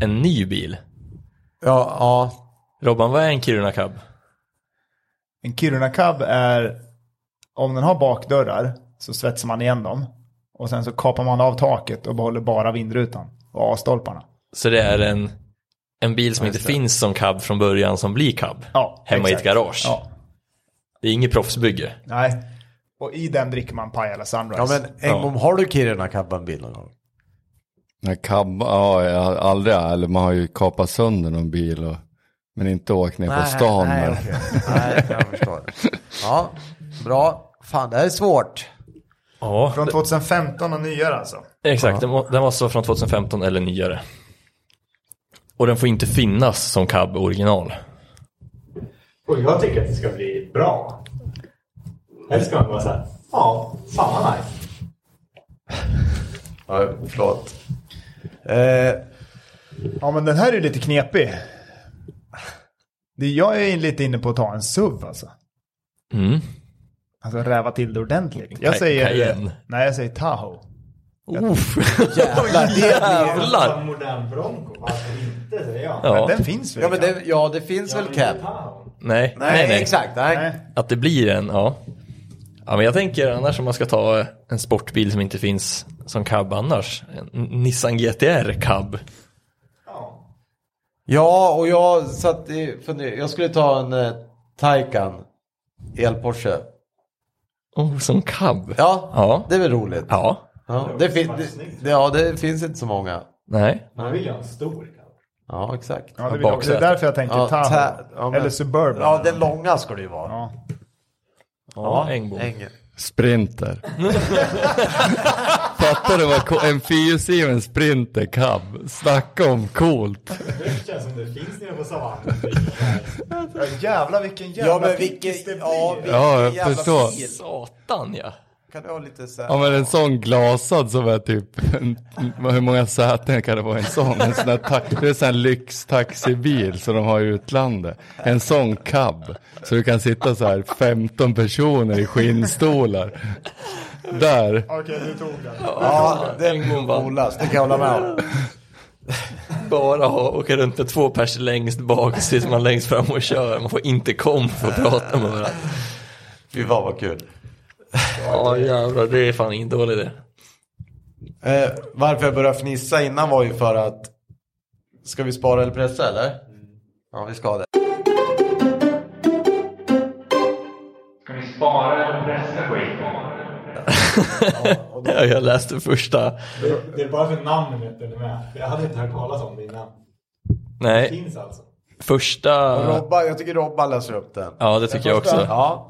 Speaker 3: en ny bil.
Speaker 1: Ja, ja.
Speaker 3: Robban, vad är en Kiruna-cab?
Speaker 2: En Kiruna Cab är, om den har bakdörrar så svetsar man igen dem. Och sen så kapar man av taket och behåller bara vindrutan och A-stolparna.
Speaker 3: Så det är en, en bil som inte finns som cab från början som blir cab.
Speaker 2: Ja,
Speaker 3: hemma
Speaker 2: exakt.
Speaker 3: i ett garage.
Speaker 2: Ja,
Speaker 3: Det är inget proffsbygge.
Speaker 2: nej. Och i den dricker man Pajala Sunrise.
Speaker 1: ja men Engblom, har du Kiruna-cabban bil någon gång?
Speaker 4: Nej, kabba, ja, jag har aldrig, eller man har ju kapat sönder någon bil och, men inte åkt ner på stan.
Speaker 1: nej,
Speaker 4: med.
Speaker 1: okej. nej, jag förstår. Ja, bra. Fan, det här är svårt.
Speaker 3: Ja,
Speaker 2: Från 2015 och nyare alltså.
Speaker 3: exakt. Den må- Den var så från 2015 eller nyare. Och den får inte finnas som cab original.
Speaker 5: Och jag tycker att det ska bli bra. Helst ska man bara säga, ja, fan vad nice.
Speaker 1: Ja, förlåt. Eh,
Speaker 2: Ja men den här är lite knepig. Det jag är lite inne på att ta en SUV alltså.
Speaker 3: Mm.
Speaker 2: Alltså räva till det ordentligt. Jag
Speaker 3: Ca-
Speaker 2: säger...
Speaker 3: Cayenne.
Speaker 2: Nej jag säger Tahoe.
Speaker 3: Uff. [laughs] Jävlar.
Speaker 5: En modern Bronco, varför inte säger jag.
Speaker 3: Ja.
Speaker 2: Men den finns väl?
Speaker 1: ja, men det, ja, det finns
Speaker 5: Jag
Speaker 1: väl
Speaker 5: vill
Speaker 1: cab?
Speaker 5: inte ha den.
Speaker 3: Nej,
Speaker 1: Nej,
Speaker 3: nej, nej.
Speaker 1: exakt. Nej.
Speaker 2: Nej.
Speaker 3: Att det blir en, ja. Ja men jag tänker annars om man ska ta en sportbil som inte finns som cab annars. En Nissan GTR cab.
Speaker 5: Ja.
Speaker 1: Ja, och jag satt i, funder- jag skulle ta en eh, Taycan el-Porsche.
Speaker 3: Oh, som cab?
Speaker 1: Ja,
Speaker 3: Ja.
Speaker 1: det är väl roligt. Ja.
Speaker 3: Ja.
Speaker 1: det, fin- det, det, ja, det finns inte så många.
Speaker 3: Nej.
Speaker 5: Man vill ju ha en stor cab.
Speaker 1: Ja, exakt.
Speaker 2: Ja, det, vill jag också.
Speaker 3: Baksätet.
Speaker 2: det är därför jag tänker
Speaker 1: Ja,
Speaker 2: Tahoe.
Speaker 1: ta- ja, men-
Speaker 2: Eller Suburban.
Speaker 1: Ja, den långa ska det ju vara.
Speaker 2: Ja.
Speaker 3: Ja, Engblom.
Speaker 1: Eng- [laughs]
Speaker 4: Sprinter. Fattar du vad co- en fyrhjulsdriven sprinter cab? Snacka om coolt.
Speaker 5: Det känns som det finns nere på savannen.
Speaker 2: Ja, jävlar vilken jävla
Speaker 1: Ja, men vilken,
Speaker 2: pickis det blir.
Speaker 1: ja, vilken
Speaker 4: Ja, jag
Speaker 1: jävla
Speaker 4: förstår.
Speaker 1: bil.
Speaker 3: Satan ja.
Speaker 1: Kan du ha lite så här?
Speaker 4: Ja men en sån glasad som är typ, en, hur många säten kan det vara i en sån? En sån här, ta- det är en sån här lyxtaxibil som de har i utlandet. En sån cab. Så du kan sitta så här 15 personer i skinnstolar. Där.
Speaker 2: [laughs] Okej, du tog den.
Speaker 1: Ja, den
Speaker 3: Engblom
Speaker 1: är
Speaker 3: vann.
Speaker 1: coolast. Det kan jag hålla med om.
Speaker 3: Bara ha, åka runt med två pers längst bak så sitter man längst fram och kör. Man får inte kom för att prata med varandra.
Speaker 1: Fy fan vad kul.
Speaker 3: Ja jävlar, det är fan ingen dålig idé.
Speaker 1: Eh, varför jag började fnissa innan var ju för att Ska vi spara eller pressa eller? Ja vi ska det.
Speaker 6: Ska ni spara eller pressa skiten?
Speaker 3: Ja, jag läste första.
Speaker 5: Det, det är bara för namnet den är med. Jag hade inte hört talas om det innan. Det
Speaker 3: Nej,
Speaker 5: finns alltså.
Speaker 3: första.
Speaker 1: Robban, jag tycker Robban läser upp den.
Speaker 3: Ja det tycker jag också.
Speaker 1: Ja.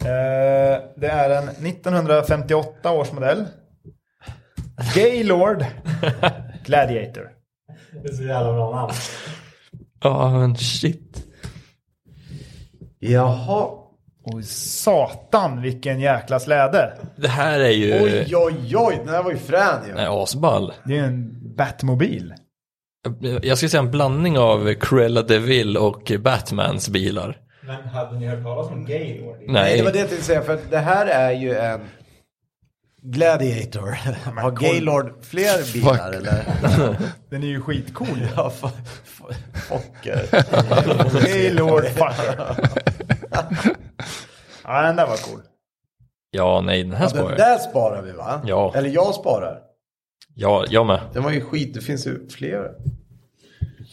Speaker 2: Eh, det är en 1958 års modell.
Speaker 1: [laughs]
Speaker 2: Gaylord Gladiator.
Speaker 5: Det är så jävla bra namn.
Speaker 3: Ja men shit.
Speaker 1: Jaha.
Speaker 2: Oj, satan vilken jäkla släde.
Speaker 3: Det här är ju.
Speaker 1: Oj oj oj, den här var ju frän ju.
Speaker 3: Nej, asball.
Speaker 2: Det är ju en Batmobil.
Speaker 3: Jag skulle säga en blandning av Cruella de Vil och Batmans bilar.
Speaker 5: Men hade ni hört talas om Gaylord?
Speaker 1: Nej,
Speaker 3: Nej,
Speaker 1: det var det jag tänkte säga för att det här är ju en Gladiator. Har Gaylord fler bilar [laughs]
Speaker 4: Fuck.
Speaker 1: eller?
Speaker 2: Den är ju skitcool.
Speaker 1: [laughs] Ja, fa- fa- Focker.
Speaker 2: Gaylord fucker. ja, den där var cool.
Speaker 3: ja nej den här
Speaker 1: Den
Speaker 3: sparar jag.
Speaker 1: Alltså, där sparar vi va?
Speaker 3: Ja.
Speaker 1: Eller jag sparar.
Speaker 3: Ja, jag med.
Speaker 1: Den var ju skit, det finns ju flera.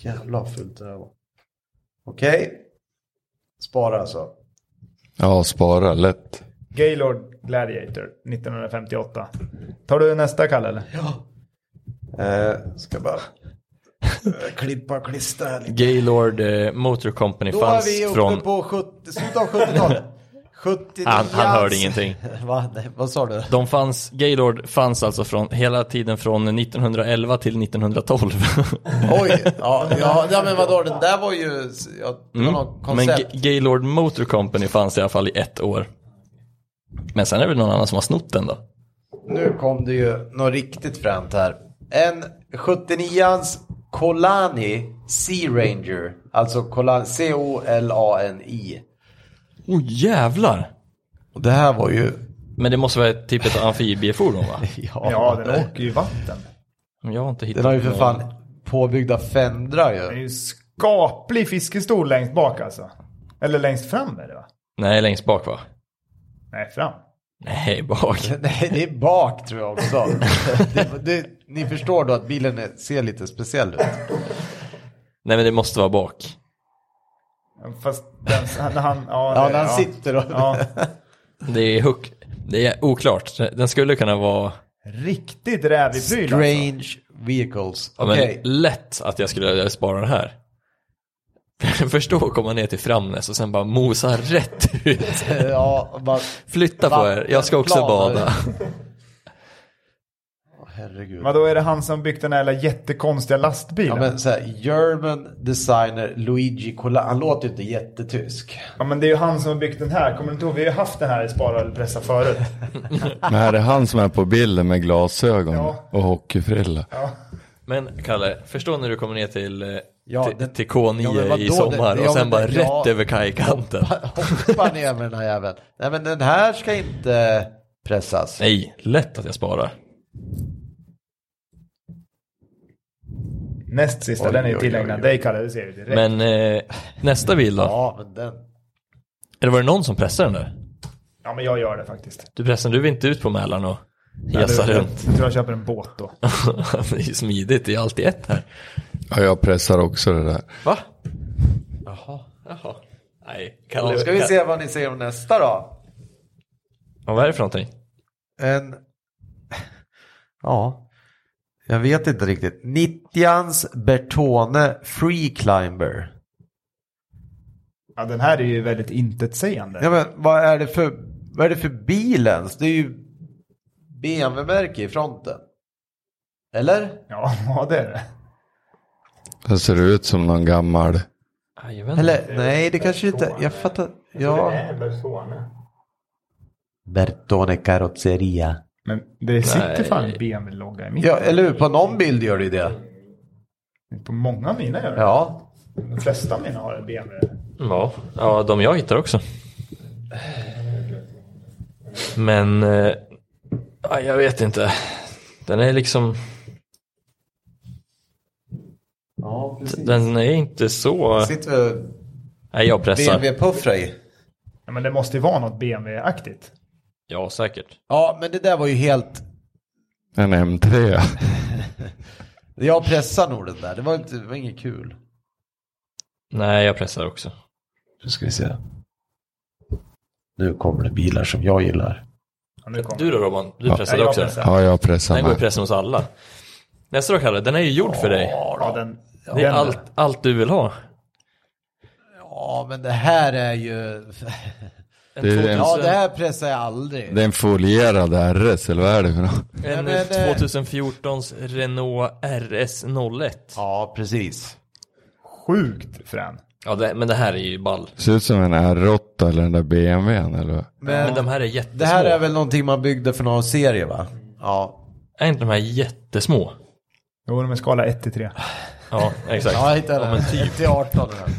Speaker 1: Jävlar vad fult det där var. Okej. Spara alltså.
Speaker 4: Ja, spara lätt.
Speaker 2: Gaylord Gladiator 1958. Tar du nästa Kalle eller?
Speaker 1: Eh, ska bara eh, klippa och klistra här lite.
Speaker 3: Gaylord eh, Motor Company
Speaker 1: Då är
Speaker 3: fanns
Speaker 1: vi uppe
Speaker 3: från...
Speaker 1: på 70, slutet av 70-talet. 79.
Speaker 3: Han- han hörde ingenting.
Speaker 1: Va? Nej, vad sa du?
Speaker 3: De fanns, Gaylord fanns alltså från, hela tiden från 1911 till 1912. [laughs]
Speaker 1: Oj, [laughs] ja, ja, ja men vadå, den där var ju, ja, det var något
Speaker 3: Mm. Men
Speaker 1: koncept.
Speaker 3: G- Gaylord Motor Company fanns i alla fall i ett år. Men sen är det väl någon annan som har snott den då?
Speaker 1: Nu kom det ju något riktigt fränt här. En 79ans Colani Sea Ranger. Alltså Colani, C-O-L-A-N-I.
Speaker 3: Oh jävlar!
Speaker 1: Och det här var ju
Speaker 3: Men det måste vara ett- typ ett amfibiefordon
Speaker 1: [laughs]
Speaker 3: va?
Speaker 1: Ja,
Speaker 2: Ja, den åker ju i vatten.
Speaker 3: Men Jag har inte hittat
Speaker 1: Den har ju för
Speaker 3: någon.
Speaker 1: fan påbyggda fendrar
Speaker 2: Det är
Speaker 1: ju.
Speaker 2: ju skaplig fiskestol längst bak alltså. Eller längst fram är det va?
Speaker 3: Nej, längst bak va?
Speaker 2: Nej, fram.
Speaker 3: Nej,
Speaker 1: [laughs]
Speaker 3: bak.
Speaker 1: Nej, det är bak tror jag också. det, det, ni förstår då att bilen är, ser lite speciell ut.
Speaker 3: Nej men det måste vara bak.
Speaker 2: Fast den, när han... Ja,
Speaker 1: Ja,
Speaker 2: det-
Speaker 1: när han sitter och...
Speaker 2: Ja.
Speaker 3: Det är huck. Det är oklart. Den skulle kunna vara
Speaker 2: Riktigt rävig pryl alltså.
Speaker 1: Strange vehicles.
Speaker 3: ja, men
Speaker 1: Okej.
Speaker 3: lätt att jag skulle spara den här. [laughs] Förstå att komma ner till Framnäs och sen bara mosa rätt ut.
Speaker 1: [laughs] Ja, bara...
Speaker 3: Flytta på er, jag ska också
Speaker 1: Vattenplan.
Speaker 3: bada.
Speaker 1: Åh, Herregud.
Speaker 2: Men då är det han som byggt den här jävla jättekonstiga lastbilen.
Speaker 1: Ja, men så här, German designer Luigi Cola. Han låter ju inte jättetysk. [laughs]
Speaker 2: det är ju han som har byggt den här. Kommer du inte ihåg? Vi har ju haft den här i Spara eller Pressa förut.
Speaker 4: Men här är han som är på bilden med glasögon
Speaker 2: Ja.
Speaker 4: och hockeyfrilla.
Speaker 3: Men Kalle, förstå när du kommer ner till, eh,
Speaker 1: Ja,
Speaker 3: till,
Speaker 1: den-
Speaker 3: till K9
Speaker 1: Ja, men vadå?
Speaker 3: i sommar
Speaker 1: Det- det- ja,
Speaker 3: och sen
Speaker 1: men
Speaker 3: bara
Speaker 1: det- ja.
Speaker 3: rätt över kajkanten.
Speaker 1: Hoppa ner med den här jäveln. Nej, men den här ska inte pressas.
Speaker 3: Nej, lätt att jag sparar.
Speaker 2: Näst sista,
Speaker 1: Oj,
Speaker 2: den är
Speaker 1: oj,
Speaker 2: tillägnad
Speaker 1: oj, oj.
Speaker 2: dig Kalle, det ser vi direkt.
Speaker 3: Men eh, nästa bil då?
Speaker 1: Ja, men den...
Speaker 3: Eller var det någon som pressade den där?
Speaker 2: Ja men jag gör det faktiskt.
Speaker 3: Du pressade, du vill inte ut på Mälaren och
Speaker 2: Eller-
Speaker 3: jassa runt. [laughs]
Speaker 2: Jag tror jag köper en båt då.
Speaker 3: det är ju smidigt, det är alltid ett här.
Speaker 4: Ja, jag pressar också det där.
Speaker 3: Va? Jaha, jaha. Nej, Kalle.
Speaker 1: Då ska vi se vad ni säger om nästa då.
Speaker 3: Ja, vad är det för någonting?
Speaker 1: En... Ja. Jag vet inte riktigt. 90-ans Bertone Free Climber.
Speaker 2: Ja den här är ju väldigt intetsägande.
Speaker 1: Ja, men vad är det för, vad är det för bil ens? Det är ju BMW-märke i fronten. Eller?
Speaker 2: Ja, [laughs] ja det är det.
Speaker 4: Den ser ut som någon gammal.
Speaker 3: Jajamän.
Speaker 1: Eller nej, det kanske inte. Jag fattar.
Speaker 5: Det
Speaker 1: Ja.
Speaker 5: är Bertone.
Speaker 1: Bertone Carrozzeria.
Speaker 2: Men det sitter
Speaker 3: Nej.
Speaker 2: fan en BMW-logga i mitten.
Speaker 1: Ja, eller hur? På någon bild gör det ju det.
Speaker 2: På många av mina gör det.
Speaker 1: Ja.
Speaker 2: De flesta av mina har en BMW.
Speaker 3: Ja, ja, de jag hittar också. Men, eh, ja, jag vet inte. Den är liksom,
Speaker 1: Ja, precis.
Speaker 3: den är inte så...
Speaker 1: Sitter eh, vi
Speaker 3: Nej, jag pressar.
Speaker 1: BMW-puffra i.
Speaker 2: Ja, men det måste ju vara något BMW-aktigt.
Speaker 3: Ja, säkert.
Speaker 1: Ja, men det där var ju helt...
Speaker 4: En M3.
Speaker 1: Jag pressar nog den där. Det var, inte, det var inget kul.
Speaker 3: Nej, jag pressar också.
Speaker 1: Nu ska vi se. Nu kommer det bilar som jag gillar.
Speaker 2: Ja, nu kommer
Speaker 3: Du
Speaker 2: det.
Speaker 3: då Robban, du
Speaker 2: Nej,
Speaker 3: pressade
Speaker 2: jag
Speaker 3: också.
Speaker 2: pressar.
Speaker 4: Ja, jag pressar
Speaker 3: Den går ju
Speaker 4: med.
Speaker 3: pressen hos alla. Nästa då Kalle, den är ju gjord för dig.
Speaker 2: Ja, den,
Speaker 3: Det är
Speaker 2: den-
Speaker 3: allt, allt du vill ha.
Speaker 1: Ja, men det här är ju... [laughs]
Speaker 3: En
Speaker 4: Det är
Speaker 3: 2000,
Speaker 4: en-
Speaker 1: Ja, det här pressar jag aldrig.
Speaker 4: Det är en folierad RS, eller vad är det för något?
Speaker 1: Nej,
Speaker 3: en
Speaker 1: men, eh,
Speaker 3: 2014s Renault RS01. Ja,
Speaker 1: Ja, precis.
Speaker 2: Sjukt frän.
Speaker 3: det, men det här är ju ball.
Speaker 4: Ser ut som en R8 eller den där BMWn eller vad?
Speaker 3: Men,
Speaker 1: Men
Speaker 3: de här är jättesmå.
Speaker 1: det här är väl någonting man byggde för någon serie, va? Ja.
Speaker 3: Är inte de här jättesmå?
Speaker 2: Jo, de är skala 1 till 3.
Speaker 3: Ja, exakt.
Speaker 1: Ja, jag hittade
Speaker 3: ja, men
Speaker 1: den.
Speaker 3: typ.
Speaker 1: Till 18 den.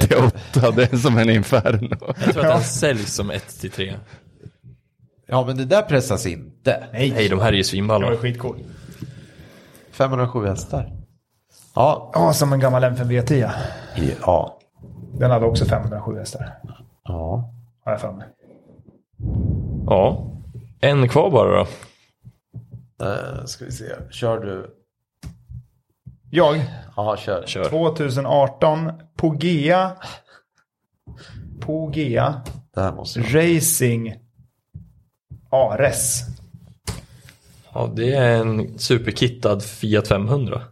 Speaker 4: Det är åtta, det är som en Inferno.
Speaker 3: Jag tror att den säljs som 1-3.
Speaker 1: Ja, men det där pressas inte.
Speaker 2: Nej,
Speaker 3: Nej, de här är ju
Speaker 2: det var ju
Speaker 3: svinballar.
Speaker 2: skitcool.
Speaker 1: 507 hästar. Ja.
Speaker 2: Ja, som en gammal M5 V10.
Speaker 1: Ja.
Speaker 2: Den hade också 507 hästar.
Speaker 1: Ja.
Speaker 2: Har jag för mig.
Speaker 3: Ja. En kvar bara då.
Speaker 1: Eh, ska vi se. Kör du.
Speaker 2: Jag,
Speaker 1: Ja, kör.
Speaker 3: Kör.
Speaker 2: 2018, Pogea. Pogea
Speaker 1: Det här måste jag.
Speaker 2: Racing Ares.
Speaker 3: Ja, det är en superkittad Fiat 500.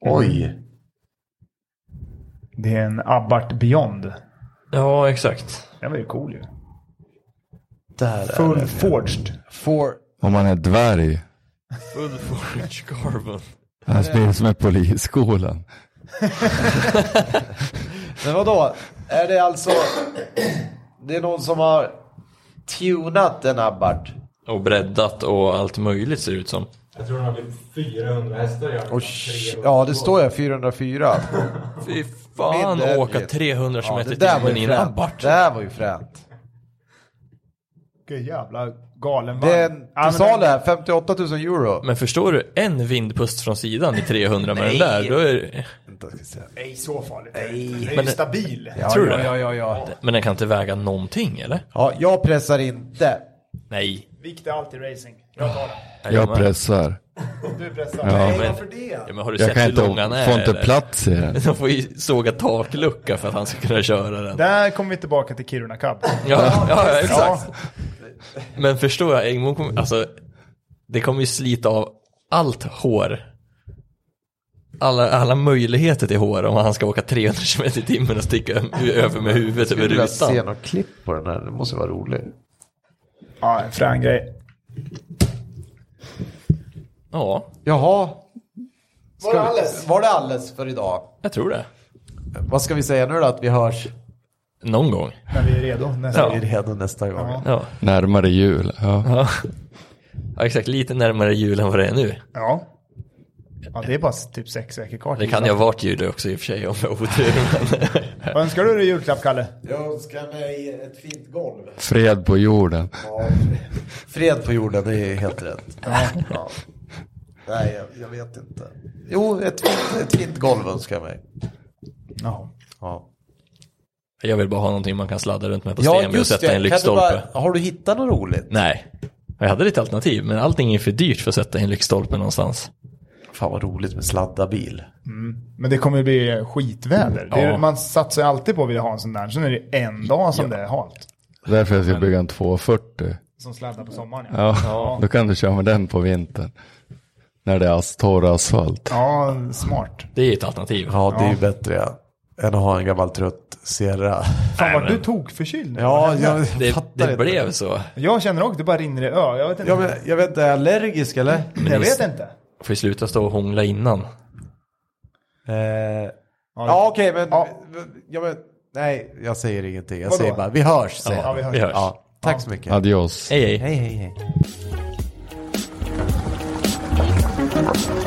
Speaker 1: Oj.
Speaker 2: Det är en Abarth Beyond.
Speaker 3: Ja, exakt.
Speaker 2: Den var ju cool ju.
Speaker 1: Där är
Speaker 2: Full
Speaker 1: det.
Speaker 2: forged.
Speaker 1: For...
Speaker 4: Om man är dvärg.
Speaker 3: Full Forge Carbon.
Speaker 4: Han spelar som är polisskolan.
Speaker 1: Men vadå? Är det alltså... Det är någon som har tunat en Abarth.
Speaker 3: Och breddat och allt möjligt ser det ut som.
Speaker 5: Jag tror den har blivit 400 hästar. i alla fall.
Speaker 1: Och
Speaker 5: Tre och
Speaker 1: ja, det
Speaker 5: två.
Speaker 1: står jag 404.
Speaker 3: Fy fan
Speaker 1: Min-
Speaker 3: åka 300 km
Speaker 1: Ja, det
Speaker 3: i
Speaker 1: där var
Speaker 3: timmen
Speaker 1: ju
Speaker 3: i en
Speaker 1: fränt.
Speaker 3: Abarth.
Speaker 1: Det här var ju fränt.
Speaker 2: Vilken jävla galen
Speaker 1: Det är
Speaker 2: varm.
Speaker 1: en
Speaker 2: Ja, men
Speaker 1: till salu
Speaker 2: den-
Speaker 1: här, 58 000 euro.
Speaker 3: Men förstår du, en vindpust från sidan i 300 med den där, då är det...
Speaker 1: Vänta, ska vi se.
Speaker 2: Nej, så farligt är det
Speaker 1: Nej.
Speaker 2: inte. Den är
Speaker 3: Men-
Speaker 2: ju stabil.
Speaker 1: Ja,
Speaker 3: Tror du
Speaker 1: ja,
Speaker 3: det?
Speaker 1: ja, ja, ja.
Speaker 3: Men den kan inte väga någonting, eller?
Speaker 1: ja, jag pressar inte.
Speaker 3: Nej.
Speaker 2: Vikt är alltid racing. Jag tar den.
Speaker 4: Jag pressar.
Speaker 2: Du pressar.
Speaker 4: Ja,
Speaker 2: Nej,
Speaker 3: men-
Speaker 2: varför det?
Speaker 3: Ja, men har du
Speaker 4: Jag
Speaker 3: sett
Speaker 4: kan
Speaker 3: hur
Speaker 4: inte,
Speaker 3: lång han är?
Speaker 4: får inte
Speaker 3: eller?
Speaker 4: plats i
Speaker 3: [laughs]
Speaker 4: den.
Speaker 3: De får ju såga taklucka för att han ska kunna köra den.
Speaker 2: Där kommer vi tillbaka till Kiruna Cub.
Speaker 3: Ja, ja, exakt.
Speaker 2: Ja,
Speaker 3: Men förstår jag, Engblom kommer, alltså, det kommer ju slita av allt hår. Alla, alla möjligheter till hår om han ska åka 300 km i timmen och sticka ö- över med huvudet över
Speaker 1: Jag vill se
Speaker 3: rutan.
Speaker 1: något klipp på den här, det måste vara roligt.
Speaker 2: ja en frän grej.
Speaker 3: Ja,
Speaker 1: Jaha.
Speaker 2: Var det alles?
Speaker 1: Var det alles för idag?
Speaker 3: jag tror det.
Speaker 1: Vad ska vi säga nu då? Att vi hörs?
Speaker 3: Någon gång.
Speaker 2: När vi är redo. Nästa.
Speaker 3: Ja.
Speaker 1: Vi är redo nästa gång.
Speaker 2: Ja.
Speaker 3: Ja,
Speaker 4: Närmare jul. Ja.
Speaker 3: ja. ja exakt. Lite närmare jul än vad det är nu.
Speaker 2: Ja. ja, det är bara typ sex veckor kvar.
Speaker 3: Det
Speaker 2: till
Speaker 3: kan ju
Speaker 2: jul.
Speaker 3: ha varit jul också i och för sig om jag har otur. Men... [laughs]
Speaker 2: Vad önskar du dig i julklapp, Kalle?
Speaker 1: Jag önskar mig ett fint golv.
Speaker 4: Fred på jorden.
Speaker 1: Fred på jorden, det är helt rätt. Ja. Nej, jag, jag vet inte. Jo, ett fint, ett fint golv önskar jag mig.
Speaker 2: Ja.
Speaker 1: Ja,
Speaker 3: Jag vill bara ha någonting man kan sladda runt med på Stenby och sätta i en
Speaker 1: Kan du
Speaker 3: lyktstolpe.
Speaker 1: bara, har du hittat något roligt?
Speaker 3: Nej. Jag hade lite alternativ, men allting är för dyrt för att sätta i en lyktstolpe någonstans.
Speaker 1: Fan vad roligt med sladdabil.
Speaker 2: Men det kommer ju bli skitväder. Det är,
Speaker 3: Ja.
Speaker 2: Man satsar ju alltid på att vilja ha en sån där. Sen är det en dag som det är halt.
Speaker 4: Därför jag ska bygga en 240.
Speaker 2: Som sladdar på sommaren. Ja,
Speaker 4: Ja. Då kan du köra med den på vintern. När det är as- torr asfalt.
Speaker 2: ja smart.
Speaker 3: Det är ett alternativ.
Speaker 1: Ja, det är ju bättre ja, än att ha en gammal trött Sierra.
Speaker 2: Fan vad du tog förkyld nu.
Speaker 1: Ja, jag
Speaker 3: Det,
Speaker 1: fattar
Speaker 3: det
Speaker 1: inte.
Speaker 3: blev så.
Speaker 2: Jag känner också, det bara rinner i ö. Jag vet inte.
Speaker 1: Ja, men, jag vet inte, är jag allergisk eller?
Speaker 2: jag vet inte.
Speaker 3: Får vi sluta stå och hångla innan.
Speaker 1: Eh,
Speaker 2: Ja,
Speaker 1: ja, okej, men,
Speaker 2: Ja.
Speaker 1: ja, men... Nej, jag säger ingenting. Jag
Speaker 2: Vadå?
Speaker 1: säger bara, vi hörs. Säger
Speaker 2: Ja,
Speaker 1: jag.
Speaker 2: vi hörs.
Speaker 3: Vi hörs.
Speaker 1: Ja, tack så mycket.
Speaker 4: Adios.
Speaker 3: Hej, hej.
Speaker 1: Hej, hej, hej.